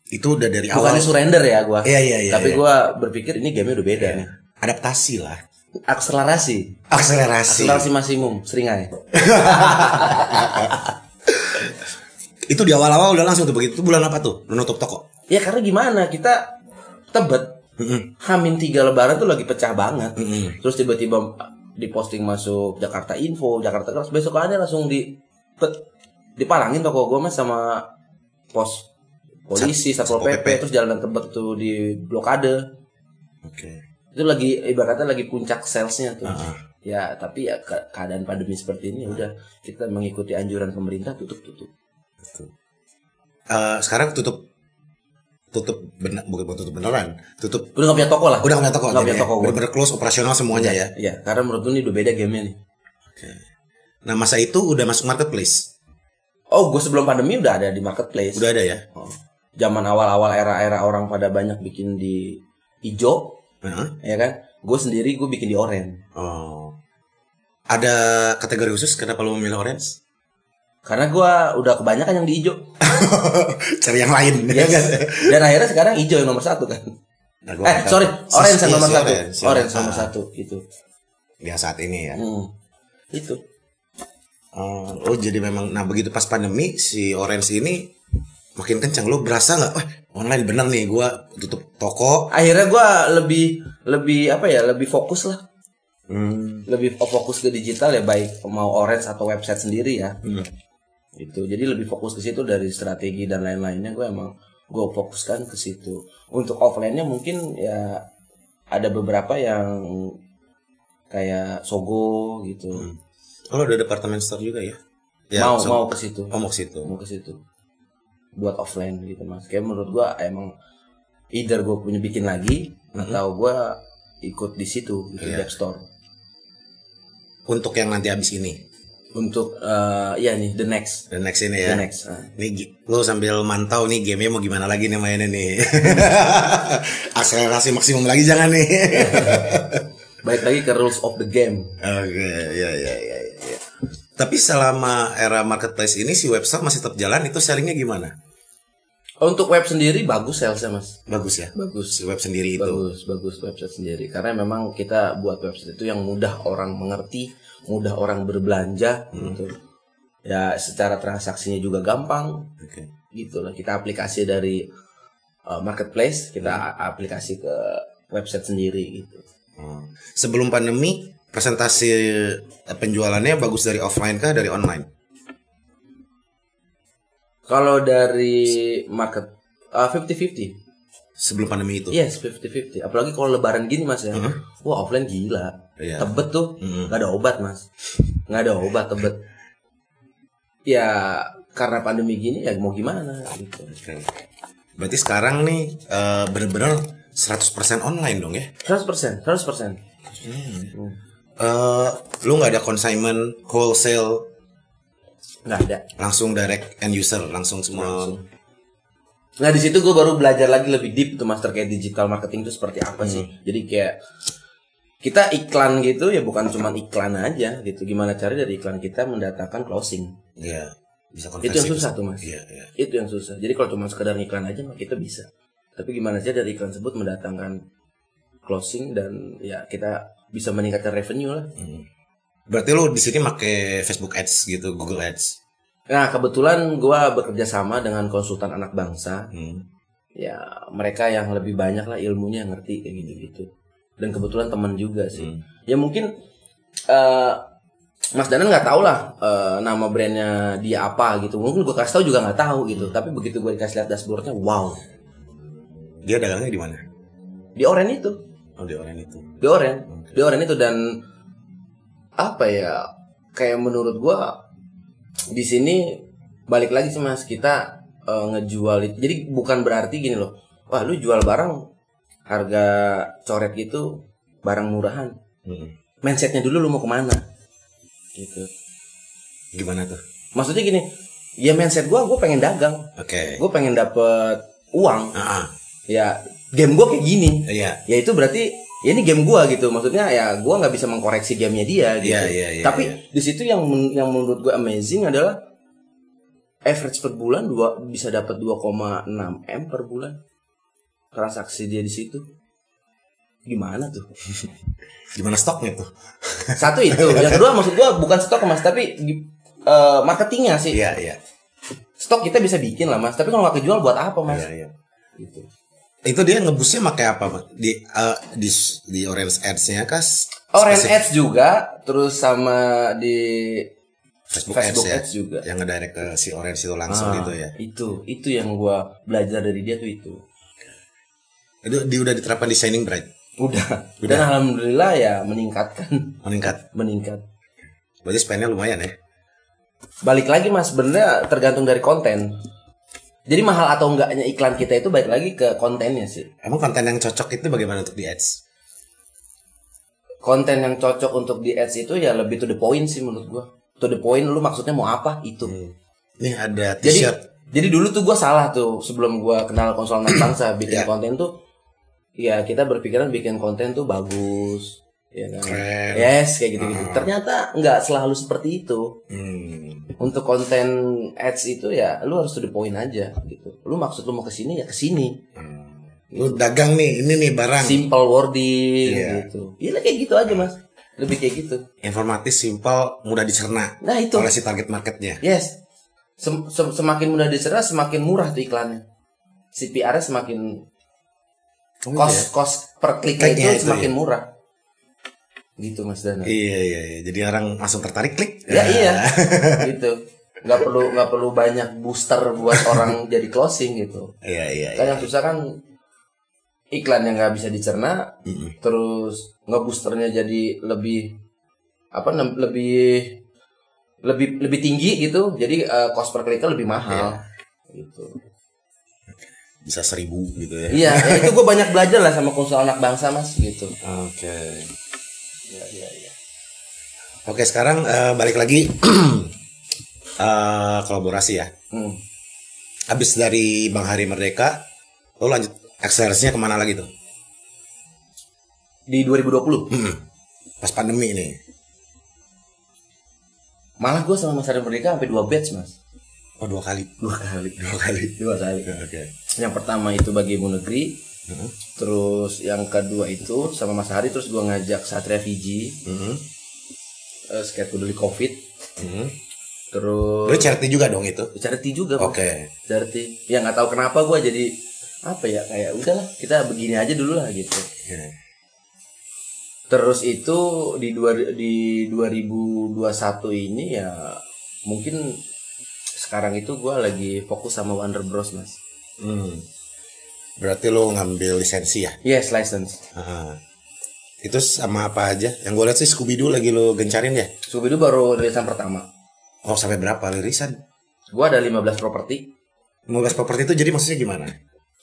A: Itu udah dari awal.
B: bukannya surrender ya gue
A: Iya iya iya.
B: tapi
A: iya.
B: gue berpikir ini gamenya udah beda nih
A: adaptasi lah,
B: akselerasi
A: akselerasi.
B: akselerasi maksimum seringai
A: Itu di awal-awal udah langsung tuh begitu. Itu bulan apa tuh? Lu nutup toko.
B: ya karena gimana kita tebet
A: Mm-mm.
B: hamin tiga lebaran tuh lagi pecah banget
A: Mm-mm.
B: terus tiba-tiba ah, diposting masuk Jakarta Info Jakarta Keras besok ada langsung di pet- dipalangin toko gue mas sama pos polisi
A: Sat-
B: satpol
A: Satpol
B: pp
A: PP.
B: terus jalan tebet tuh di blokade
A: Oke. Ah,
B: itu lagi ibaratnya lagi puncak salesnya tuh
A: Heeh.
B: ya tapi ya ke- keadaan pandemi seperti ini
A: Hmm.
B: udah kita mengikuti anjuran pemerintah tutup tutup
A: Gitu. Eh, sekarang tutup tutup benar bukan bukan tutup beneran tutup
B: udah nggak punya toko lah
A: udah nggak punya toko
B: Nggak punya
A: jadi ya.
B: toko, gua.
A: bener-bener close operasional semuanya ya
B: ya karena menurut gue ini udah beda gamenya nih
A: nah masa itu udah masuk marketplace
B: oh gue sebelum pandemi udah ada di marketplace
A: udah ada ya
B: Oh. zaman awal-awal era-era orang pada banyak bikin di ijo
A: Heeh.
B: ya kan gue sendiri gue bikin di oranye
A: oh ada kategori khusus kenapa lu memilih orange
B: karena gue udah kebanyakan yang di ijo
A: cari yang lain ya
B: Yes. dan akhirnya sekarang ijo yang nomor satu kan
A: Nah, gua nggak
B: eh
A: tahu.
B: sorry
A: Si-
B: orange
A: iya,
B: ya. Ah, yang
A: si
B: nomor satu
A: orange, si
B: orange nomor
A: Ah,
B: satu gitu
A: yang saat ini ya
B: Hmm. itu
A: Oh, oh, jadi memang nah begitu pas pandemi si Orange ini makin kencang lo berasa nggak wah online bener nih gua tutup toko
B: akhirnya gue lebih lebih apa ya lebih fokus lah
A: Hmm.
B: lebih fokus ke digital ya baik mau orange atau website sendiri ya
A: Hmm.
B: itu jadi lebih fokus ke situ dari strategi dan lain-lainnya gue emang gue fokuskan ke situ untuk offline-nya mungkin ya ada beberapa yang kayak sogo gitu
A: oh lo ada departemen store juga ya
B: mau
A: so-
B: mau ke situ
A: oh, mau ke situ
B: mau ke situ buat offline gitu mas kayak menurut gua emang either gua punya bikin lagi atau gua ikut di situ gitu di
A: Hmm. Iya.
B: app store
A: untuk yang nanti habis ini
B: untuk eh ya nih the next
A: dan next ini
B: the
A: ya
B: next Nah,
A: Nih gi- lo sambil mantau nih gamenya mau gimana lagi nih mainnya nih. Akselerasi maksimum lagi jangan nih.
B: baik lagi ke rules of the game
A: Oke, ya ya ya ya, ya. Tapi selama era marketplace ini si website masih tetap jalan itu sharingnya gimana?
B: Oh, untuk web sendiri bagus salesnya mas Gitu.
A: Bagus ya.
B: bagus
A: Si web sendiri itu.
B: bagus bagus website sendiri karena memang kita buat website itu yang mudah orang mengerti mudah orang berbelanja gitu ya secara transaksinya juga gampang
A: Oke.
B: gitu loh kita aplikasi dari uh, marketplace kita a- aplikasi ke website sendiri gitu
A: Hmm. Sebelum pandemi presentasi eh, penjualannya bagus dari offline kah dari online?
B: kalau dari market eh, fifty fifty
A: Sebelum pandemi itu.
B: yes fifty fifty apalagi kalau lebaran gini mas ya wah offline gila
A: Iya.
B: tebet tuh
A: Mm-mm.
B: nggak ada obat mas nggak ada obat tebet ya karena pandemi gini ya mau gimana gitu
A: Oke. Berarti sekarang nih eh, bener-bener 100% online dong ya?
B: 100% persen seratus persen Hmm.
A: eh lu nggak ada consignment, wholesale,
B: nggak ada
A: langsung direct end user, langsung semua.
B: Nah di situ gue baru belajar lagi lebih deep tuh mas terkait digital marketing itu seperti apa sih. Jadi kayak kita iklan gitu ya bukan cuma iklan aja gitu. Gimana cara dari iklan kita mendatangkan closing?
A: Iya, bisa konversi.
B: Itu yang susah tuh mas.
A: Iya, iya.
B: Itu yang susah. Jadi kalau cuma sekedar iklan aja mah kita bisa. Tapi gimana sih dari iklan tersebut mendatangkan closing dan ya kita bisa meningkatkan revenue lah.
A: Mm. Berarti lu di sini make Facebook Ads gitu, Google Ads.
B: Nah kebetulan gue bekerja sama dengan konsultan anak bangsa
A: Hmm.
B: ya mereka yang lebih banyak lah ilmunya yang ngerti kayak gitu gitu dan kebetulan teman juga sih
A: Hmm.
B: ya mungkin eh Mas Danan nggak tahu lah eh, nama brandnya dia apa gitu mungkin gue kasih tahu juga nggak tahu gitu tapi begitu gue dikasih lihat dashboardnya wow
A: Dia dagangnya di mana?
B: di oren itu
A: Oh, di online itu.
B: di oren
A: Oke.
B: di oren itu dan apa ya kayak menurut gue di sini balik lagi sih mas kita eh, ngejual itu jadi bukan berarti gini loh wah lu jual barang harga coret gitu barang murahan
A: Hmm.
B: mindsetnya dulu lu mau kemana gitu
A: Gimana tuh?
B: maksudnya gini ya mindset gua gua pengen dagang
A: Oke.
B: gua pengen dapet uang
A: Ah, ah.
B: ya game gua kayak gini
A: Iya.
B: ya itu berarti ya ini game gua gitu maksudnya ya gua nggak bisa mengkoreksi gamenya dia gitu
A: Iya, iya, iya,
B: tapi
A: iya.
B: di situ yang men- yang menurut gua amazing adalah average per bulan dua bisa dapat 2,6 m per bulan transaksi dia di situ gimana tuh
A: Gimana stoknya tuh?
B: satu itu yang kedua maksud gua bukan stok mas tapi di- eh, marketingnya sih
A: Iya, iya.
B: stok kita bisa bikin lah mas tapi kalau nggak kejual buat apa mas
A: Iya, iya.
B: gitu
A: Itu dia ngebusnya pakai apa, Pak? Di eh, di di Orange Ads-nya kah?
B: Orange
A: Spesifik
B: Ads juga terus sama di
A: Facebook,
B: Facebook
A: Ads, ya?
B: Ads juga.
A: Yang ngedirect ke si Orange itu langsung
B: Ah,
A: gitu ya.
B: itu itu yang gua belajar dari dia tuh itu
A: Itu di udah diterapkan di Shining Bright
B: udah dan alhamdulillah ya meningkatkan
A: meningkat.
B: meningkat
A: Berarti spendnya lumayan ya.
B: balik lagi mas sebenarnya tergantung dari konten jadi mahal atau enggaknya iklan kita itu balik lagi ke kontennya sih
A: Emang konten yang cocok itu bagaimana untuk di ads?
B: konten yang cocok untuk di ads itu ya lebih to the point sih menurut gua to the point lu maksudnya mau apa itu
A: Hmm, Nih ada
B: jadi
A: t-shirt.
B: jadi dulu tuh gua salah tuh sebelum gua kenal konsolan bangsa
A: Iya.
B: bikin konten tuh ya kita berpikiran bikin konten tuh bagus ya kan?
A: Keren.
B: yes kayak gitu
A: Ah.
B: gitu ternyata nggak selalu seperti itu
A: Hmm.
B: untuk konten ads itu ya lu harus to the point aja gitu lu maksud lu mau kesini ya kesini
A: Lu dagang nih, ini nih barang.
B: simple wording
A: Iya.
B: gitu iya kayak gitu aja mas lebih kayak gitu
A: Informatif, simpel, mudah dicerna
B: nah itu
A: oleh si target marketnya.
B: yes Sem- sem- semakin mudah dicerna semakin murah tuh iklannya CPR-nya semakin cost cost per
A: Oh,
B: kliknya
A: iya. Kliknya
B: itu
A: itu, ya.
B: semakin murah gitu Mas Dana
A: Iya iya iya. Jadi orang langsung tertarik klik.
B: Ya
A: Nah,
B: iya, gitu. Nggak perlu nggak perlu banyak booster buat orang jadi closing gitu.
A: Iya iya. iya.
B: Kan yang susah kan iklan yang nggak bisa dicerna,
A: Mm-mm.
B: terus nggak boosternya jadi lebih apa nam- lebih lebih lebih tinggi gitu. Jadi eh, cost per kliknya lebih mahal. Gitu.
A: Bisa seribu gitu ya.
B: Iya, ya, itu gue banyak belajar lah sama konsul anak bangsa mas gitu.
A: Oke.
B: Iya iya iya.
A: Oke sekarang eh, balik lagi eh, kolaborasi ya.
B: Hmm.
A: Habis dari Bang Hari Merdeka, lo lanjut akselerasinya kemana lagi tuh?
B: Di 2020
A: Mm-mm. Pas pandemi ini.
B: malah gue sama Mas Arif Merdeka sampai dua batch mas.
A: Oh dua kali.
B: Dua kali.
A: Dua kali.
B: Dua kali.
A: Oke. Mm-hmm.
B: Yang pertama itu bagi ibu negeri,
A: Mm-mm.
B: terus yang kedua itu sama Mas Hari, terus gua ngajak Satria Fiji,
A: Mm-mm.
B: eh sekitar peduli COVID,
A: Mm-mm. Lo
B: terus
A: Mm-hmm. charity juga dong itu.
B: Charity juga, Mas.
A: Oke.
B: Charity. Ya nggak tahu kenapa gua jadi apa ya kayak udahlah kita begini aja dulu lah gitu.
A: Iya.
B: Terus itu di dua, di 2021 ini ya mungkin sekarang itu gua lagi fokus sama Wonder Bros Mas.
A: Hmm. Berarti lo ngambil lisensi ya?
B: Yes license.
A: Heeh. Itu sama apa aja? Yang gue lihat sih Scooby Doo lagi lo gencarin ya?
B: Scooby-Doo baru rilisan pertama.
A: Oh sampai berapa lirisan?
B: Gua ada 15 properti
A: 15 properti itu jadi maksudnya gimana?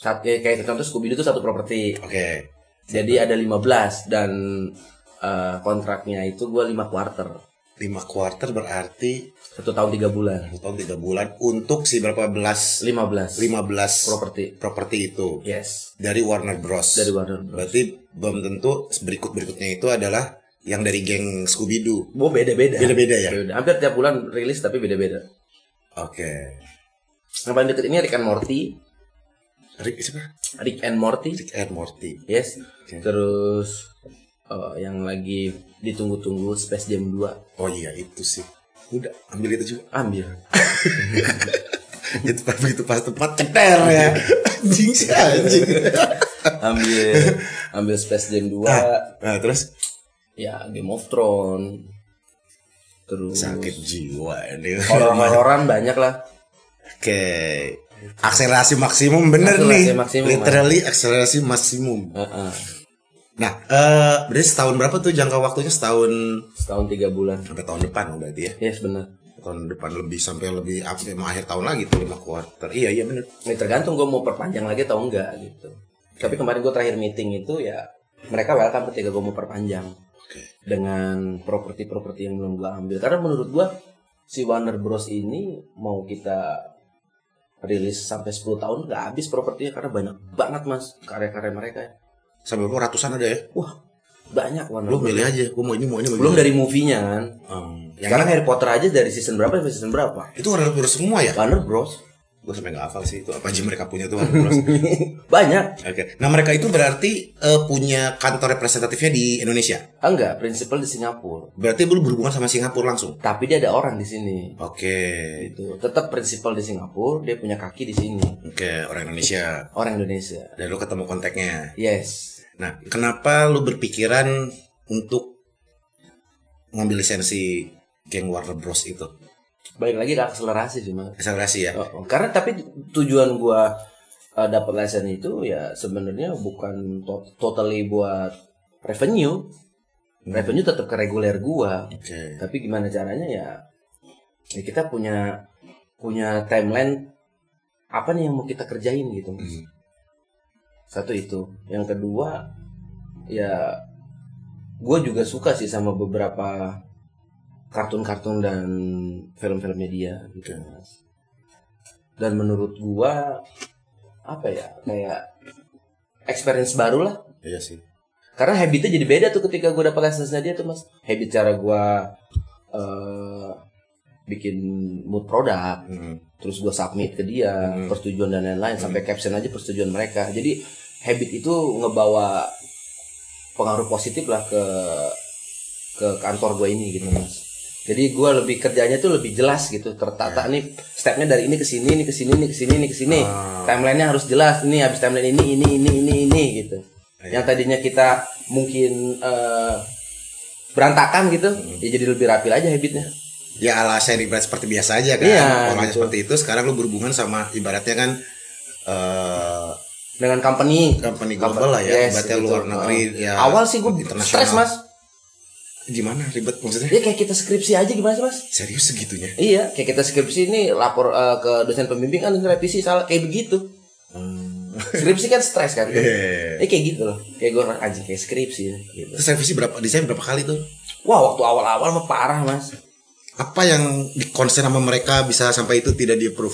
B: satu ya, kayak contoh Scooby Doo itu satu properti.
A: Oke.
B: Jadi ada 15 dan eh, kontraknya itu gua 5 quarter.
A: 5 quarter berarti
B: Satu tahun 3 bulan.
A: satu tahun tiga bulan untuk si berapa belas
B: 15.
A: 15
B: properti.
A: properti itu
B: Yes,
A: dari Warner Bros.
B: dari Warner Bros.
A: Berarti belum tentu berikut berikutnya itu adalah yang dari geng Scooby Doo.
B: Oh, beda-beda.
A: Beda-beda ya.
B: Beda. Hampir tiap bulan rilis tapi beda-beda.
A: Oke.
B: Yang paling deket ini Rick and Morty.
A: Rick siapa?
B: Rick and Morty.
A: Rick and Morty.
B: Yes.
A: Oke.
B: Terus eh, yang lagi ditunggu-tunggu Space Jam 2.
A: Oh iya itu sih. Udah ambil itu juga.
B: Ambil.
A: Itu pas begitu pas tempat ceter ya. Anjing sih anjing.
B: Ambil ambil Space Jam 2.
A: Nah, terus
B: ya Game of Thrones terus
A: sakit jiwa ini.
B: horor-hororan banyak lah
A: Oke. Akselerasi maksimum bener
B: Akselerasi
A: nih.
B: maksimum,
A: Literally akselerasi maksimum.
B: Heeh.
A: Nah, eh berarti setahun berapa tuh jangka waktunya setahun
B: setahun tiga bulan
A: sampai tahun depan berarti ya.
B: yes benar
A: Tahun depan lebih sampai lebih apa emang akhir tahun lagi tuh lima quarter. Iya iya bener.
B: ini Ya, tergantung gue mau perpanjang lagi atau enggak gitu tapi kemarin gue terakhir meeting itu ya mereka welcome ketika gue mau perpanjang
A: Oke.
B: dengan properti-properti yang belum gue ambil karena menurut gue si Warner Bros ini mau kita rilis sampai 10 tahun nggak habis propertinya karena banyak banget mas karya-karya mereka
A: Sampai berapa ratusan ada ya?
B: banyak Warner
A: Lu
B: Bros.
A: milih aja, gua mau ini mau ini mau
B: belum
A: ini.
B: dari movie-nya kan
A: Hmm, yang
B: Sekarang Harry Potter aja dari season berapa sampai season berapa?
A: itu Warner Bros semua ya?
B: Warner Bros.
A: Gue sampai nggak hafal sih itu apa aja mereka punya tuh Warner Bros. Oke.
B: Banyak.
A: Nah mereka itu berarti eh, punya kantor representatifnya di Indonesia.
B: Ah, Enggak, prinsipal di Singapura.
A: Berarti lu berhubungan sama Singapura langsung.
B: Tapi dia ada orang di sini.
A: Oke.
B: Itu tetap prinsipal di Singapura, dia punya kaki di sini.
A: Oke, orang Indonesia.
B: Orang Indonesia.
A: Dan lu ketemu kontaknya.
B: Yes.
A: Nah, kenapa lu berpikiran untuk ngambil lisensi geng Warner Bros itu?
B: Balik lagi ke akselerasi sih, Mas.
A: Akselerasi ya.
B: Oh, oh. Karena tapi tujuan gua eh, dapat license itu ya sebenarnya bukan to- totally buat revenue. Revenue tetap ke reguler gua.
A: Oke.
B: tapi gimana caranya ya, ya kita punya punya timeline apa nih yang mau kita kerjain gitu Mas.
A: Hmm.
B: satu itu yang kedua ya gue juga suka sih sama beberapa kartun-kartun dan film-filmnya dia gitu Mas. dan menurut gua apa ya kayak experience baru lah
A: Iya sih.
B: karena habitnya jadi beda tuh ketika gue dapet license dia tuh mas habit cara gue eh bikin mood produk
A: Hmm.
B: terus gue submit ke dia
A: Hmm.
B: persetujuan dan lain-lain sampai caption aja persetujuan mereka jadi habit itu ngebawa pengaruh positif lah ke ke ke kantor gue ini gitu
A: Hmm.
B: mas jadi gue lebih kerjanya tuh lebih jelas gitu tertata
A: Hmm.
B: nih stepnya dari ini ke sini ini ke sini ini ke sini ini ke sini
A: Ah.
B: timelinenya harus jelas ini habis timeline ini ini ini ini ini gitu
A: Iya.
B: yang tadinya kita mungkin eh, berantakan gitu
A: Hmm.
B: ya jadi lebih rapi aja habitnya
A: ya ala saya ibarat seperti biasa aja kan
B: Iya,
A: polanya
B: gitu.
A: seperti itu sekarang lu berhubungan sama ibaratnya kan eh
B: dengan company
A: company global lah ya
B: Yes,
A: ibaratnya
B: gitu.
A: luar negeri
B: Oh.
A: ya
B: awal sih gue
A: internasional.
B: stres mas
A: gimana ribet maksudnya
B: ya kayak kita skripsi aja gimana sih mas
A: serius segitunya
B: Iya, kayak kita skripsi ini lapor eh, ke dosen pembimbing kan revisi salah kayak begitu.
A: Hmm.
B: Skripsi kan stres kan.
A: Iya,
B: Iya.
A: iya, iya.
B: kayak gitu loh. Kayak gue anjing kayak skripsi gitu.
A: terus revisi berapa desain berapa kali tuh
B: Wah, waktu awal-awal mah parah, Mas.
A: apa yang dikonsen sama mereka bisa sampai itu tidak di approve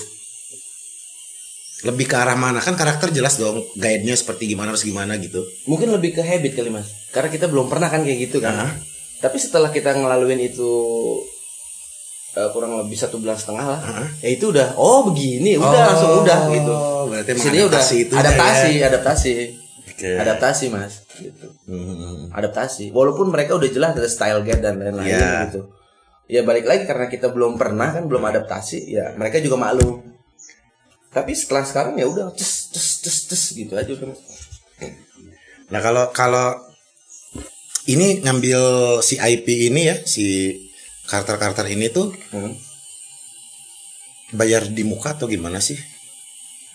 A: lebih ke arah mana kan karakter jelas dong guide-nya seperti gimana harus gimana gitu
B: Mungkin lebih ke habit kali, Mas. Karena kita belum pernah kan kayak gitu kan.
A: Nah.
B: Tapi setelah kita ngelaluin itu eh, kurang lebih satu bulan setengah lah.
A: Nah.
B: Ya itu udah, oh begini, udah langsung udah gitu.
A: berarti emang
B: Sini udah
A: adaptasi itunya
B: adaptasi,
A: ya.
B: adaptasi.
A: Oke.
B: Adaptasi, Mas. Gitu.
A: Hmm.
B: adaptasi. Walaupun mereka udah jelas ada style guide dan lain-lain
A: Iya.
B: gitu. Ya balik lagi karena kita belum pernah kan belum adaptasi, ya mereka juga maklum. Tapi setelah sekarang ya udah tes tes tes tes gitu aja udah.
A: Nah kalau kalau ini ngambil si IP ini ya si karakter-karakter ini tuh
B: Hmm.
A: bayar di muka atau gimana sih?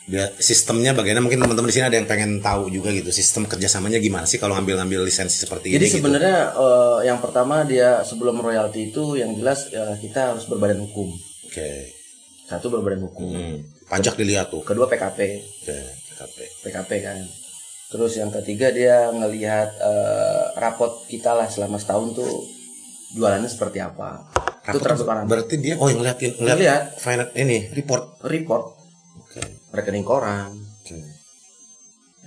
A: Dia, sistemnya bagaimana? Mungkin teman-teman di sini ada yang pengen tahu juga gitu sistem kerjasamanya gimana sih kalau ngambil-ngambil lisensi seperti
B: Jadi
A: ini? gitu?
B: sebenarnya eh, yang pertama dia sebelum royalti itu yang jelas ya, kita harus berbadan hukum.
A: Oke.
B: Satu berbadan hukum.
A: Hmm. Pajak dilihat tuh.
B: Kedua PKP.
A: Oke. TKP.
B: PKP kan. Terus yang ketiga dia ngelihat eh, rapot kita lah selama setahun tuh jualannya seperti apa. itu
A: Rapot
B: transparan. Iya.
A: Berarti dia oh yang ngeliat yang ngeliat
B: Ngeliat.
A: finan- ini report.
B: Report
A: Oke.
B: rekening koran.
A: Oke.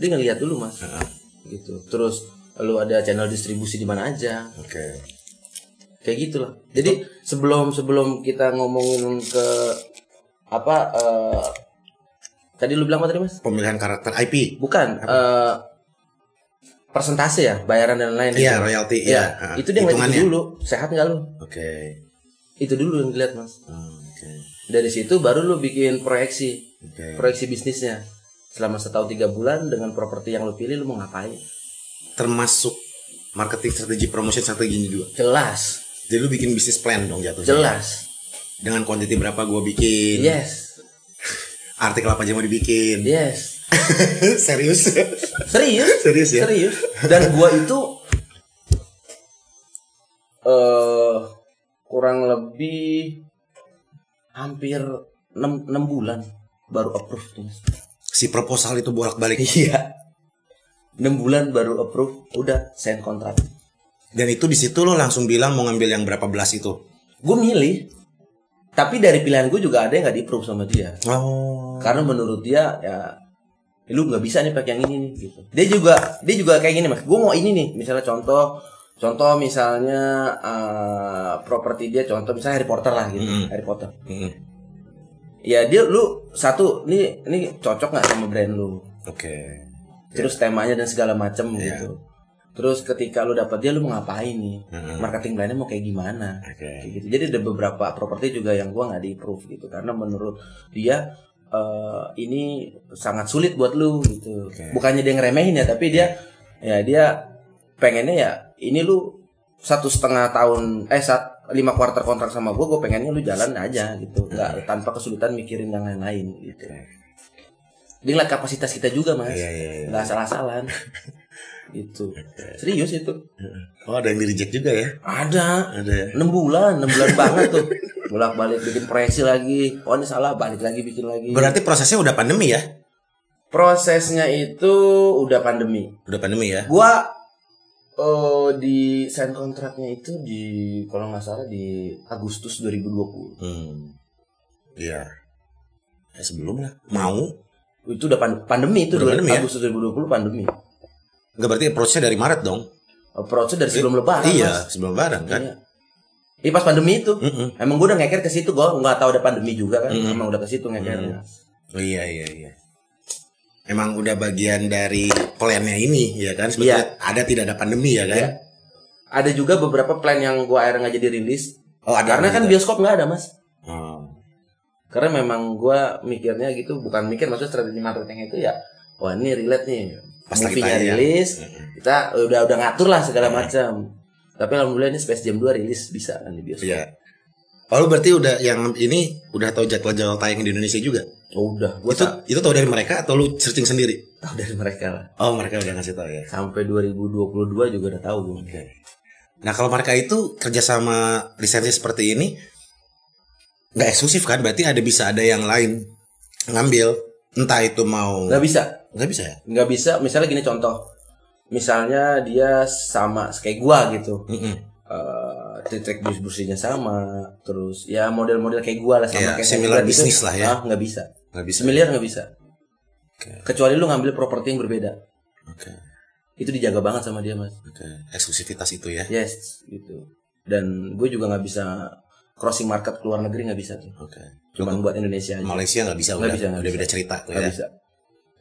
B: Dia ngelihat dulu mas.
A: Heeh.
B: Gitu. Terus lu ada channel distribusi di mana aja.
A: Oke.
B: Kayak gitulah. Jadi sebelum sebelum kita ngomongin ke apa eh, tadi lu bilang apa tadi mas?
A: Pemilihan karakter IP.
B: Bukan eh, persentase ya bayaran dan lain-lain.
A: Iya,
B: gitu.
A: royalty.
B: Iya,
A: Iya. Heeh.
B: itu dia ngeliat
A: Hitungannya.
B: itu dulu. Sehat nggak lu?
A: Oke.
B: Itu dulu yang dilihat mas.
A: Hmm, Oke.
B: Dari situ baru lu bikin proyeksi,
A: Oke.
B: proyeksi bisnisnya. Selama setahun tiga bulan dengan properti yang lu pilih lu mau ngapain?
A: termasuk marketing strategi promotion strategi ini juga.
B: Jelas,
A: Jadi lu bikin bisnis plan dong jatuhnya.
B: jelas.
A: Dengan quantity berapa gua bikin,
B: Yes,
A: artikel apa aja mau dibikin.
B: yes.
A: Serius.
B: Serius,
A: Serius ya?
B: serius. Dan gua itu eh kurang lebih hampir 6, bulan baru approve tuh, Mas.
A: si proposal itu bolak-balik
B: Iya. 6 bulan baru approve, udah sign kontrak.
A: dan itu di situ lo langsung bilang mau ngambil yang berapa belas itu.
B: Gue milih. Tapi dari pilihan gue juga ada yang nggak di-approve sama dia.
A: Oh.
B: Karena menurut dia ya "Eh, lu nggak bisa nih pakai yang ini nih gitu. Dia juga dia juga kayak gini Mas. Gue mau ini nih. Misalnya contoh contoh misalnya eh, properti dia contoh misalnya Harry Potter lah gitu.
A: Mm-mm.
B: Harry Potter. Ya dia lu satu ini ini cocok nggak sama brand lu?
A: Oke.
B: Terus temanya dan segala macam
A: Iya.
B: gitu. Terus ketika lu dapat dia lu mau ngapain nih?
A: Mm-mm.
B: Marketing brandnya mau kayak gimana?
A: Oke.
B: Kayak gitu. Jadi ada beberapa properti juga yang gua nggak di approve gitu karena menurut dia eh, ini sangat sulit buat lu gitu.
A: Oke.
B: Bukannya dia ngeremehin ya, tapi dia ya dia pengennya ya ini lu satu setengah tahun eh sat, lima kuarter kontrak sama gua, gua pengennya lu jalan aja gitu, nggak tanpa kesulitan mikirin yang lain-lain gitu.
A: Oke.
B: Dia ngeliat kapasitas kita juga mas,
A: Iya, iya, iya.
B: nggak salah-salah. gitu. Serius itu.
A: Oh, ada yang di reject juga ya?
B: Ada.
A: Ada. ya?
B: 6 bulan, 6 bulan banget tuh. Bolak-balik bikin proyeksi lagi. Oh, ini salah, balik lagi bikin lagi.
A: Berarti prosesnya udah pandemi ya?
B: Prosesnya itu udah pandemi.
A: Udah pandemi ya?
B: Gua eh, di sign kontraknya itu di kalau nggak salah di Agustus 2020.
A: Hmm. Iya. Ya, sebelum lah. Mau?
B: Itu udah pan- pandemi itu
A: Udah
B: dua-
A: pandemi ya?
B: Agustus 2020 pandemi.
A: Enggak berarti approach-nya dari Maret dong?
B: Approach dari sebelum lebaran.
A: iya,
B: Mas.
A: sebelum lebaran kan? Hmm.
B: Iya. Iya pas pandemi itu.
A: Mm-mm.
B: Emang gue udah ngeker ke situ, gue nggak tahu ada pandemi juga kan.
A: Mm-mm.
B: Emang udah ke situ ngekernya.
A: Oh, Iya iya iya. Emang udah bagian dari plannya ini ya kan? Sebetulnya ada tidak ada pandemi ya kan?
B: Iya. ada juga beberapa plan yang gua akhirnya nggak jadi rilis
A: Oh, ada
B: karena
A: yang
B: kan
A: gitu.
B: bioskop nggak ada mas
A: Hmm.
B: karena memang gua mikirnya gitu bukan mikir maksudnya strategi marketing itu ya wah ini relate nih
A: Pas lagi
B: movie-nya
A: tayang.
B: rilis kita udah udah ngatur lah segala macam tapi alhamdulillah ini Space Jam 2 rilis bisa kan di bioskop
A: Iya. Oh lu berarti udah yang ini udah tahu jadwal-jadwal tayang di Indonesia juga?
B: Oh, udah gua
A: itu
B: tak-
A: itu tahu dari mereka atau lu searching sendiri?
B: tahu dari mereka lah
A: Oh mereka udah ngasih tahu ya.
B: sampai 2022 juga udah tahu gua
A: Nah kalau mereka itu kerjasama lisensi seperti ini nggak eksklusif kan? Berarti ada bisa ada yang lain ngambil entah itu mau
B: nggak bisa
A: nggak bisa ya?
B: nggak bisa misalnya gini contoh misalnya dia sama kayak gua gitu
A: Mm-mm.
B: eh titik bus-busnya sama terus ya model-model kayak gua lah
A: Iya,
B: sama kayak
A: similar
B: gua gitu.
A: business lah ya.
B: Ah, nggak bisa
A: Nggak bisa.
B: similar nggak bisa
A: Oke.
B: kecuali lu ngambil properti yang berbeda
A: Oke.
B: itu dijaga banget sama dia mas
A: Oke. Eksklusivitas itu ya.
B: yes gitu dan gue juga nggak bisa crossing market ke luar negeri nggak bisa tuh
A: Oke.
B: cuma buat Indonesia aja
A: Malaysia nggak bisa
B: Nggak
A: udah
B: bisa, nggak
A: udah
B: bisa.
A: beda cerita tuh
B: nggak
A: ya.
B: bisa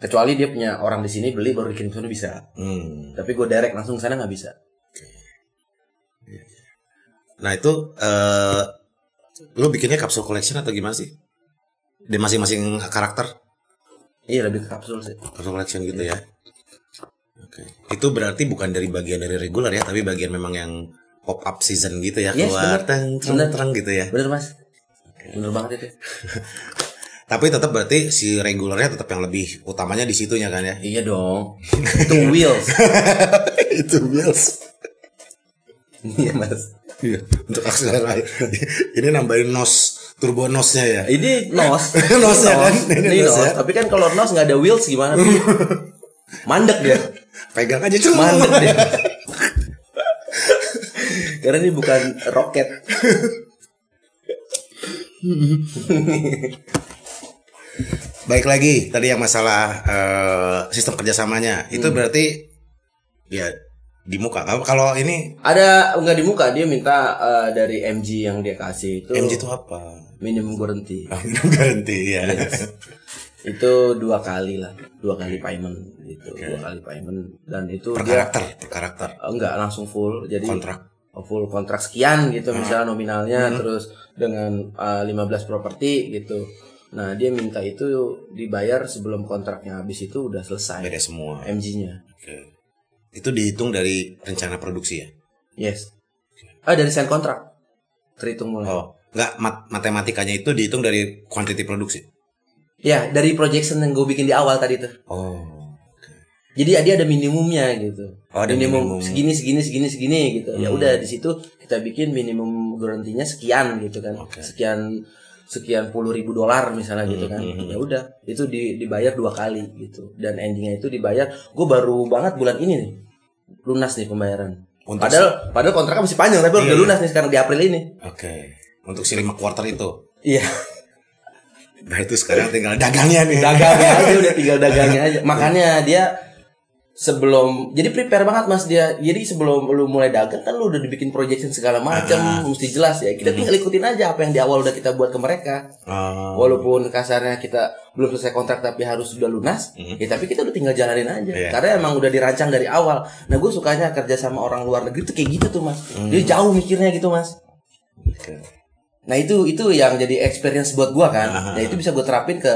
B: kecuali dia punya orang di sini beli baru dikirim ke sana bisa
A: Hmm.
B: tapi gue direct langsung ke sana nggak bisa
A: Nah itu eh lu bikinnya kapsul collection atau gimana sih? Di masing-masing karakter
B: iya lebih ke kapsul sih
A: kapsul collection gitu
B: Iya.
A: ya. Oke. Itu berarti bukan dari bagian dari regular ya, tapi bagian memang yang pop up season gitu ya
B: Yes,
A: keluar
B: bener.
A: teng teng
B: Bener.
A: teng gitu ya.
B: bener mas bener banget itu
A: Tapi tetap berarti si regulernya tetap yang lebih utamanya di situnya kan ya.
B: iya dong itu wheels
A: itu bills.
B: iya mas
A: Iya, untuk akselerasi. Ini nambahin nos turbo nosnya ya.
B: ini nos Ini
A: Nosnya kan? Ini
B: ini
A: nos
B: nos
A: ya.
B: tapi kan kalau nos nggak ada wheels gimana mandek dia
A: Pegang aja cuma.
B: mandek dia karena ini bukan roket
A: Baik lagi tadi yang masalah eh, sistem kerjasamanya itu
B: Hmm.
A: berarti ya di muka. Kalau- Kalau ini
B: ada nggak di muka dia minta eh, dari MG yang dia kasih itu
A: MG itu Oh. apa?
B: minimum guarantee
A: Minum ganti ya.
B: Iya. itu dua kali lah dua kali payment gitu dua kali payment dan itu
A: Per
B: dia
A: karakter, per karakter
B: eh, nggak langsung full Iya. jadi oh,
A: kontrak. Ah. Hmm.
B: full kontrak sekian gitu misalnya nominalnya terus dengan eh, 15 properti gitu nah dia minta itu dibayar sebelum kontraknya habis itu udah selesai
A: Beda semua.
B: MG-nya
A: Oke. Itu dihitung dari rencana produksi ya.
B: yes ah dari sign kontrak terhitung mulai
A: Oh, nggak mat- matematikanya itu dihitung dari quantity produksi.
B: ya dari projection yang gue bikin di awal tadi tuh
A: Oh.
B: Jadi dia ada minimumnya gitu.
A: Oh, ada minimum.
B: segini segini segini segini gitu. Ya
A: Hmm.
B: udah di situ kita bikin minimum garantinya sekian gitu kan.
A: Oke.
B: Sekian sekian puluh ribu dolar misalnya gitu kan.
A: Hmm, hmm, hmm.
B: Ya udah itu di- dibayar dua kali gitu. Dan endingnya itu dibayar. Gue baru banget bulan ini nih lunas nih pembayaran.
A: Untuk
B: Padahal padahal kontraknya masih panjang tapi
A: Iya,
B: udah
A: iya.
B: lunas nih sekarang di April ini.
A: Oke. Untuk si lima quarter itu.
B: Iya.
A: Nah itu sekarang tinggal dagangnya nih.
B: dagangnya aja udah tinggal dagangnya aja makanya dia sebelum jadi prepare banget mas dia jadi sebelum lu mulai dagang kan lu udah dibikin projection segala macam mesti jelas ya kita tinggal ikutin aja apa yang di awal udah kita buat ke mereka
A: Oh.
B: walaupun kasarnya kita belum selesai kontrak tapi harus sudah lunas ya tapi kita udah tinggal jalanin aja
A: Iya.
B: karena emang udah dirancang dari awal nah gue sukanya kerja sama orang luar negeri tuh kayak gitu tuh mas dia jauh mikirnya gitu mas
A: Oke.
B: Nah itu itu yang jadi experience buat gua kan. Nah itu bisa gua terapin ke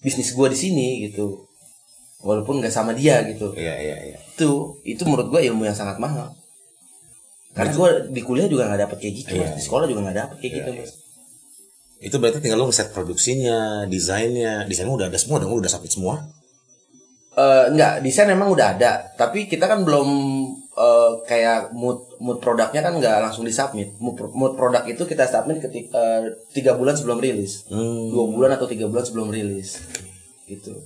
B: bisnis gua di sini gitu. Walaupun nggak sama dia gitu.
A: Iya iya iya.
B: Itu itu menurut gua ilmu yang sangat mahal. Karena gua di kuliah juga nggak dapet kayak gitu, Mas. di sekolah juga nggak dapet kayak gitu, Mas.
A: Itu berarti tinggal lo ngeset produksinya, desainnya, desainnya udah ada semua dong, lo udah submit semua.
B: Eh, nggak desain emang udah ada, tapi kita kan belum eh, kayak mood mood produknya kan nggak langsung disubmit. Mood, pro- mood produk itu kita submit ketika tiga bulan sebelum rilis,
A: Hmm.
B: dua bulan atau tiga bulan sebelum rilis, gitu.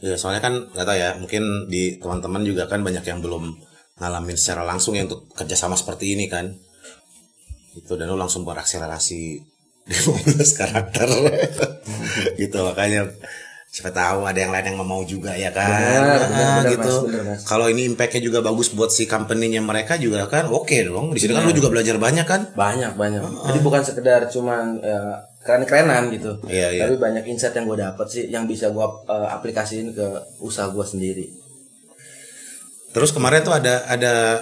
A: Ya soalnya kan nggak tahu ya, mungkin di teman-teman juga kan banyak yang belum ngalamin secara langsung ya untuk kerjasama seperti ini kan. Itu dan lo langsung berakselerasi di 15 karakter gitu makanya siapa tahu ada yang lain yang mau juga ya kan
B: Benar,
A: Ah,
B: benar, benar,
A: gitu
B: Mas, benar, Mas.
A: kalau ini impactnya juga bagus buat si company-nya mereka juga kan oke dong di sini kan
B: Iya.
A: lu juga belajar banyak kan
B: banyak banyak jadi bukan sekedar cuman ya, keren-kerenan gitu
A: Iya, iya.
B: tapi banyak insight yang gue dapat sih yang bisa eh, gue aplikasiin ke usaha gue sendiri
A: Terus kemarin tuh ada ada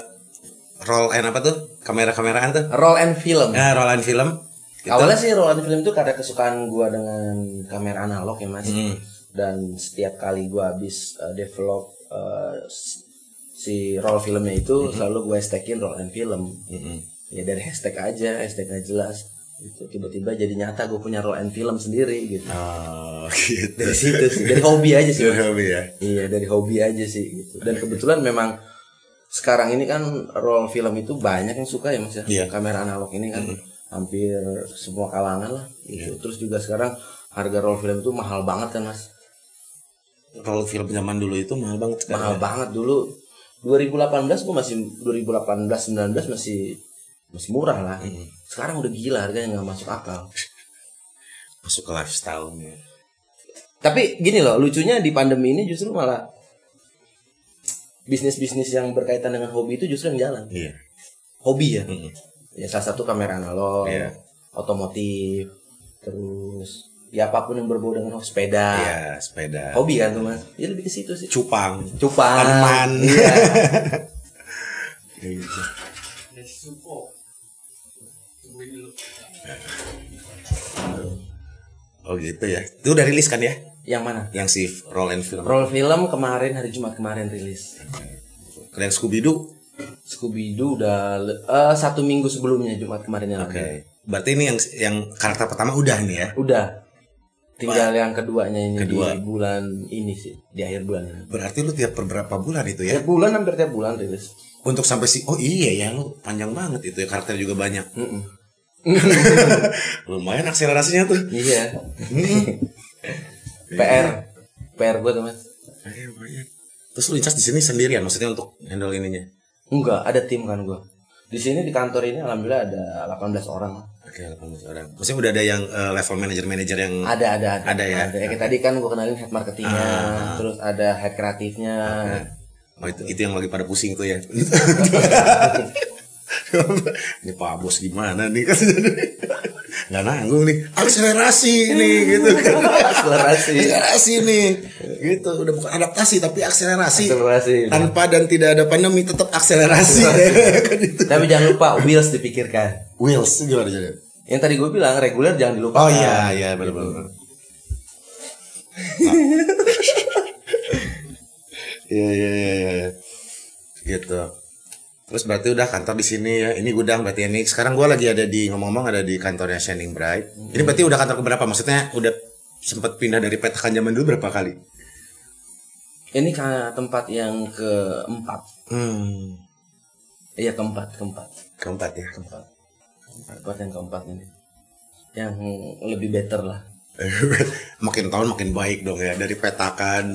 A: roll and apa tuh kamera-kameraan tuh
B: Roll and film.
A: ya roll and film Gitu.
B: Awalnya sih roll and film itu karena kesukaan gua dengan kamera analog ya mas.
A: Hmm.
B: Dan setiap kali gua habis eh, develop eh, s- si roll filmnya
A: Hmm.
B: itu selalu gue hashtagin roll and film. Ya dari hashtag aja, hashtag nggak jelas. Itu tiba-tiba jadi nyata gue punya roll and film sendiri gitu.
A: oh gitu
B: Dari situ sih, dari hobi aja sih.
A: Dari
B: Mas.
A: hobi ya
B: Iya dari hobi aja sih gitu. Dan kebetulan memang sekarang ini kan roll film itu banyak yang suka ya mas ya.
A: Iya.
B: Kamera analog ini kan hampir semua kalangan lah. Gitu. Terus juga sekarang harga roll film itu mahal banget kan mas.
A: roll film zaman dulu itu mahal banget kan?
B: Mahal banget dulu. 2018 gua masih 2018 19 masih masih murah lah. Sekarang udah gila harganya nggak masuk akal.
A: masuk ya. ke lifestyle nya
B: Tapi gini loh, lucunya di pandemi ini justru malah bisnis-bisnis yang berkaitan dengan hobi itu justru yang jalan.
A: iya
B: Hobi ya.
A: Mm-mm.
B: ya salah satu kamera analog,
A: Iya.
B: otomotif, terus ya apapun yang berbau dengan sepeda,
A: iya sepeda
B: hobi kan tuh mas, ya lebih ke situ sih.
A: cupang
B: Cupang,
A: Tanaman.
B: iya.
A: Kayak gitu. oh gitu ya itu udah rilis kan ya
B: yang mana?
A: yang si roll and film
B: Roll film kemarin hari Jumat kemarin rilis.
A: keren Scooby Doo
B: Scooby Doo udah le- eh, satu minggu sebelumnya Jumat kemarin yang
A: oke
B: lalu.
A: berarti ini yang yang karakter pertama udah nih ya
B: Udah. Tinggal yang keduanya ini
A: Kedua. Iya.
B: di bulan ini sih, di akhir bulan ini.
A: berarti lu tiap beberapa bulan itu ya
B: Tiap bulan hampir tiap bulan rilis.
A: untuk sampai si oh iya ya lu panjang banget itu ya karakter juga banyak
B: Mm-mm.
A: lumayan akselerasinya tuh
B: Iya.
A: Hmm.
B: PR. PR gue teman.
A: Iya, banyak. Terus lu incas di sini sendirian maksudnya untuk handle ininya.
B: Enggak, ada tim kan gua. Di sini di kantor ini alhamdulillah ada 18 orang.
A: Oke, 18 orang. Maksudnya udah ada yang eh, level manager-manager yang
B: Ada ada ada.
A: Ada ya? Ah.
B: Ada. Kayak tadi kan gua kenalin head marketingnya, terus ada head kreatifnya.
A: Oh, itu, itu yang lagi pada pusing tuh ya. ini Pak Bos gimana nih kan nggak nanggung nih akselerasi nih gitu kan
B: Akselerasi.
A: akselerasi nih gitu udah bukan adaptasi tapi akselerasi,
B: Akselerasi.
A: tanpa dan tidak ada pandemi tetap akselerasi kan itu
B: Tapi jangan lupa wheels dipikirkan.
A: wheels gimana jadi
B: Yang tadi gue bilang reguler jangan dilupakan.
A: Oh iya iya benar benar. Iya iya iya iya. iya. Gitu. Terus berarti udah kantor di sini ya. Ini gudang berarti ini. Sekarang gua lagi ada di ngomong-ngomong ada di kantornya Shining Bright. Ini berarti udah kantor keberapa? Maksudnya udah sempat pindah dari petakan zaman dulu berapa kali?
B: Ini ka- tempat yang keempat.
A: Hmm.
B: Iya keempat keempat
A: Keempat ya.
B: keempat. Tempat yang keempat ini. Yang lebih better lah.
A: makin tahun makin baik dong ya dari petakan.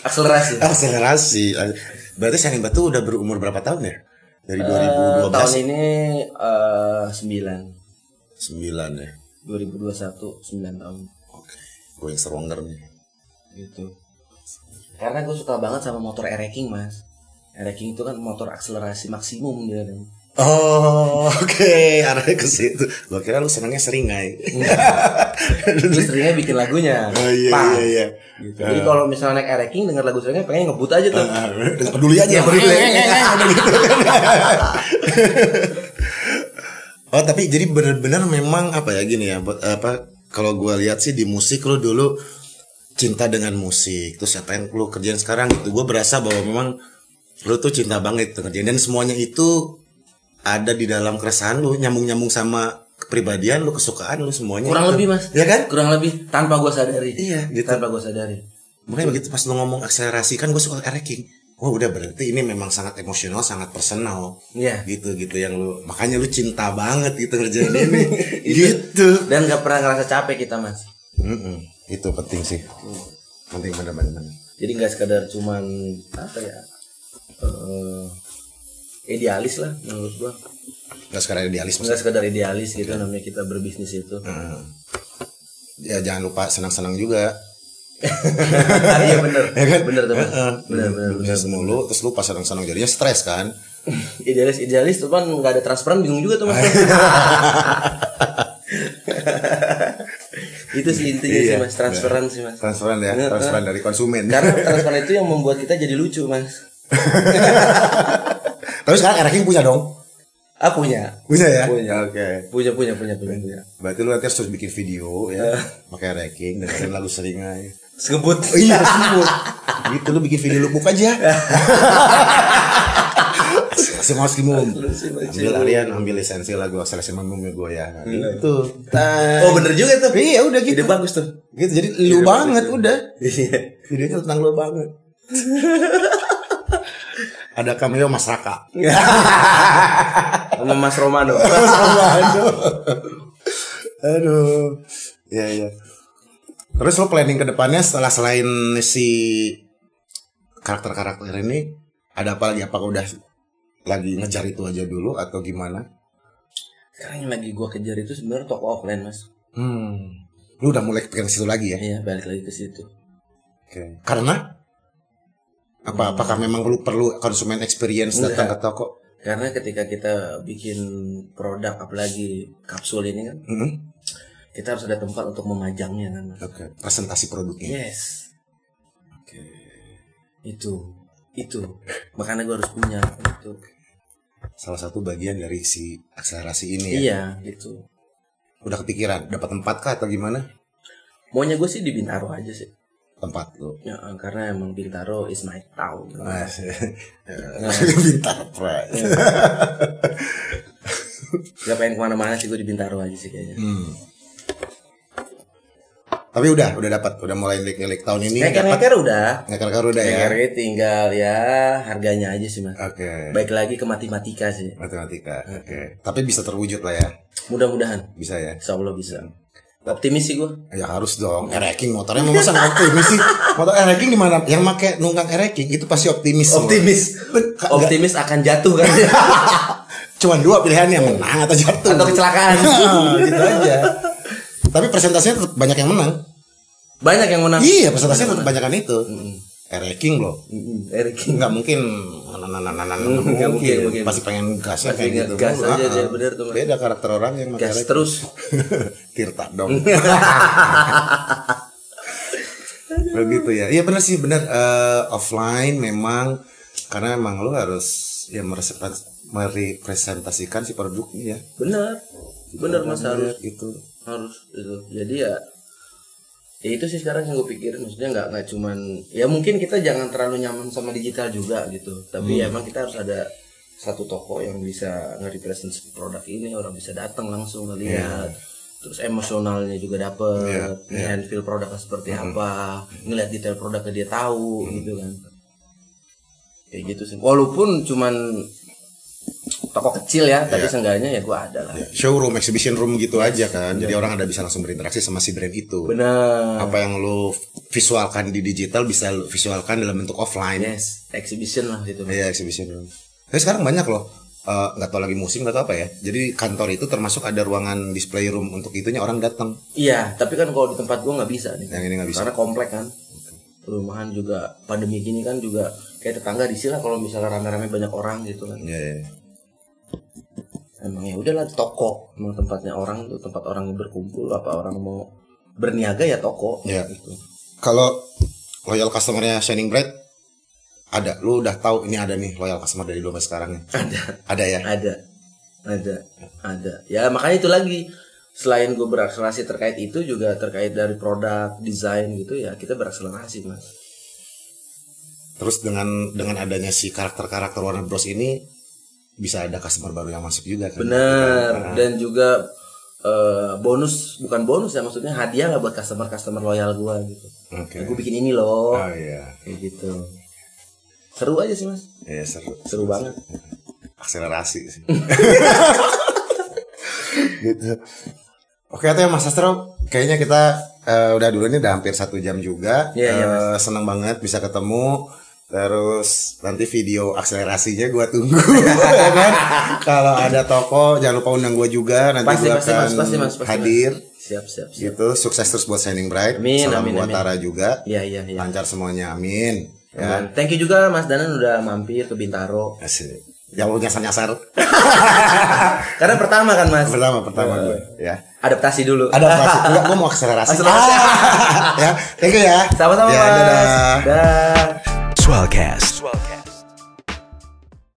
B: Akselerasi.
A: Akselerasi. Berarti Shining Bright tuh udah berumur berapa tahun ya? Dari 2012
B: Tahun ini eh, sembilan.
A: 9 ya.
B: 2021 9 tahun
A: Oke. Gue yang stronger nih.
B: gitu karena gue suka banget sama motor Ereking mas Ereking itu kan motor akselerasi maksimum dia kan
A: Oh, oke, arahnya ke situ. Gua kira lu senangnya seringai.
B: Terus seringnya bikin lagunya
A: Oh iya
B: Pak.
A: iya iya.
B: Gitu. jadi kalau misalnya naik Ereking denger lagu seringnya pengen ngebut aja tuh
A: Ah, ah, peduli aja, peduli aja. Udah gitu kan. Oh, tapi jadi benar-benar memang apa ya gini ya, buat- apa kalau gua lihat sih di musik lu dulu cinta dengan musik, terus apa yang lu kerjain sekarang gitu. Gua berasa bahwa memang lu tuh cinta banget gitu kerjain dan semuanya itu ada di dalam keresahan lu nyambung-nyambung sama kepribadian lu, kesukaan lu semuanya.
B: kurang
A: Itu.
B: lebih mas
A: Iya kan?
B: kurang lebih tanpa gue sadari
A: Iya, gitu.
B: tanpa gue sadari
A: Makanya begitu pas lu ngomong akselerasi kan gue suka ereking. Wah udah berarti ini memang sangat emosional, sangat personal.
B: Iya.
A: Gitu gitu yang lu makanya lu cinta banget gitu ngerjain ini. gitu.
B: dan gak pernah ngerasa capek kita mas
A: Mm-mm. Itu penting sih. Penting bener-bener.
B: jadi nggak sekedar cuman apa ya eh, idealis lah menurut gue
A: Gak sekarang idealis
B: nggak
A: maksudnya.
B: sekedar idealis gitu namanya kita berbisnis itu
A: Mm. Ya jangan lupa senang-senang juga.
B: Ah, iya bener
A: Ya kan?
B: bener teman
A: Heeh.
B: bener bener bener.
A: Bisnis mulu, terus lu pas senang-senang jadinya stres kan.
B: idealis idealis cuman nggak ada transparan bingung juga tuh mas itu sih intinya sih
A: Iya.
B: mas transferan sih mas
A: Transferan ya,
B: Heeh.
A: transferan dari konsumen.
B: karena transparan itu yang membuat kita jadi lucu mas
A: Tapi sekarang Eraking punya dong.
B: Ah punya.
A: Punya ya?
B: Punya.
A: Oke.
B: Punya punya punya punya. punya.
A: Berarti lu nanti harus terus bikin video ya,
B: Iya.
A: pakai ranking dengerin lagu seringai.
B: Sekebut.
A: Oh, iya, sibuk. gitu lu bikin video lupuk aja. Semua skimum.
B: Seleksi baju.
A: Ambil Aryan, ambil lisensi lagu seleksi mamum ya gue ya. Nah, Gitu. Tan.
B: Iya. Oh bener juga tuh.
A: Iya udah gitu.
B: Ide bagus tuh.
A: Gitu jadi lu banget udah.
B: Iya.
A: Videonya tentang lu banget. Ada cameo Mas Raka.
B: Sama Mas Romano.
A: Aduh. Aduh. Ya ya. Terus lo planning ke depannya setelah selain si karakter-karakter ini ada apa lagi? Apakah udah lagi ngejar itu aja dulu atau gimana?
B: Sekarang yang lagi gua kejar itu sebenarnya toko offline mas.
A: Hmm. Lu udah mulai kepikiran situ lagi ya?
B: Iya balik lagi ke situ.
A: Oke. Hmm. Karena apa apakah memang lu perlu konsumen experience datang ke toko?
B: Karena ketika kita bikin produk apalagi kapsul ini kan,
A: Mm-mm.
B: kita harus ada tempat untuk memajangnya kan. Mas.
A: Oke. Presentasi produknya.
B: Yes. Itu itu makanya gua harus punya itu.
A: Salah satu bagian dari si akselerasi ini ya.
B: Iya gitu.
A: Udah kepikiran dapat tempat kah atau gimana?
B: Maunya gue sih di Bintaro aja sih.
A: Tempat lu.
B: Ya, karena emang Bintaro is my town.
A: Mas, bintang pra.
B: Gak pengen kemana-mana sih gue di Bintaro aja sih kayaknya.
A: Hmm. Tapi udah, udah dapat, udah mulai lirik-lirik tahun ini dapat.
B: Ngeker-ngeker udah.
A: Ngeker-ngeker udah ya.
B: Ngeker tinggal ya harganya aja sih mas.
A: Oke.
B: Baik lagi ke matematika sih.
A: Matematika. Oke. Tapi bisa terwujud lah ya.
B: Mudah-mudahan.
A: Bisa ya.
B: Insya Allah bisa. Optimis sih gue.
A: Ya harus dong. Ereking motornya mau masa nggak optimis sih. Motor ereking di mana? Yang make nunggang ereking itu pasti optimis. semua. Nggak-
B: Optimis akan jatuh kan.
A: Cuman dua pilihannya menang atau jatuh.
B: Atau kecelakaan.
A: Nah, gitu aja. Tapi presentasinya tetap banyak yang menang.
B: Banyak yang menang.
A: Iya, presentasinya tetap banyak itu. Ereking loh.
B: Mm-mm, Hmm, Eric.
A: nggak mungkin nggak mungkin,
B: mungkin.
A: pasti pengen gasnya
B: Pasti
A: kayak gitu
B: gas
A: mulu.
B: aja
A: Ah,
B: dia, bener tuh, Mas.
A: beda karakter orang yang
B: Gas
A: masyarakat.
B: terus.
A: Tirta dong begitu ya iya benar sih benar Eh, offline memang karena emang lo harus ya meresep- merepresentasikan si produknya ya
B: Bener. Bener mas harus.
A: gitu
B: harus gitu jadi ya ya itu sih sekarang yang gue pikirin maksudnya nggak nggak cuman ya mungkin kita jangan terlalu nyaman sama digital juga gitu tapi ya emang kita harus ada satu toko yang bisa nge-represent si produk ini orang bisa datang langsung ngelihat terus emosionalnya juga dapet yeah. feel produknya seperti apa ngelihat detail produknya dia tahu gitu kan kayak gitu sih walaupun cuman toko kecil ya tapi seenggaknya ya gue ada lah
A: showroom exhibition room gitu aja kan jadi orang ada bisa langsung berinteraksi sama si brand itu
B: bener
A: apa yang lo visualkan di digital bisa lo visualkan dalam bentuk offline
B: Yes, exhibition lah gitu.
A: Iya exhibition room. Tapi sekarang banyak loh. eh, nggak tahu lagi musim nggak tahu apa ya. Jadi kantor itu termasuk ada ruangan display room untuk itunya orang datang.
B: Iya, tapi kan kalau di tempat gua nggak bisa nih.
A: Yang ini nggak bisa.
B: Karena komplek kan. Perumahan juga pandemi gini kan juga kayak tetangga di sini kalau misalnya rame-rame banyak orang gitu kan.
A: Iya. iya.
B: Emang ya udahlah toko, emang tempatnya orang tuh tempat orang berkumpul apa orang mau berniaga ya toko.
A: Iya.
B: Gitu.
A: Kalau loyal customernya Shining Bright ada, lu udah tahu ini ada nih loyal customer dari dulu sampai sekarang nih.
B: Ada,
A: Ada ya.
B: ada, ada, ada. Ya makanya itu lagi. Selain gue berakselerasi terkait itu juga terkait dari produk, desain gitu ya kita berakselerasi mas.
A: Terus dengan dengan adanya si karakter-karakter Warner Bros ini bisa ada customer baru yang masuk juga kan.
B: Benar. Dan juga eh, bonus bukan bonus ya maksudnya hadiah lah buat customer-customer loyal gua gitu.
A: Oke.
B: Gue bikin ini loh.
A: Oh iya.
B: Kayak gitu. Seru aja sih, Mas.
A: Iya seru.
B: Seru banget.
A: akselerasi sih. gitu. Oke atau ya Mas Sastro, kayaknya kita eh, udah dulu ini udah hampir satu jam juga.
B: Iya, iya, Mas.
A: Eh, seneng banget bisa ketemu. Terus nanti video akselerasinya gua tunggu. ya kan? Kalau ada toko jangan lupa undang gua juga. Nanti
B: Pasti,
A: gua
B: pasti,
A: akan
B: Mas. Pasti, Mas. Pasti, Mas.
A: hadir.
B: Siap, siap, siap.
A: Gitu. Sukses terus buat Shining Bright.
B: Amin,
A: Salam
B: amin,
A: buat
B: amin.
A: Tara juga.
B: Iya, iya, iya.
A: Lancar semuanya. Amin. Ya.
B: Dan Thank you juga Mas Danan udah mampir ke Bintaro.
A: Asik. Yang lu nyasar-nyasar.
B: Karena pertama kan, Mas.
A: pertama pertama gue ya.
B: Adaptasi dulu.
A: ada apa sih? Enggak, gue mau akselerasi.
B: Akselerasi.
A: Ah, ya, thank you ya.
B: Sama-sama,
A: Ya,
B: Mas.
A: dadah.
B: Dah.
C: Swellcast,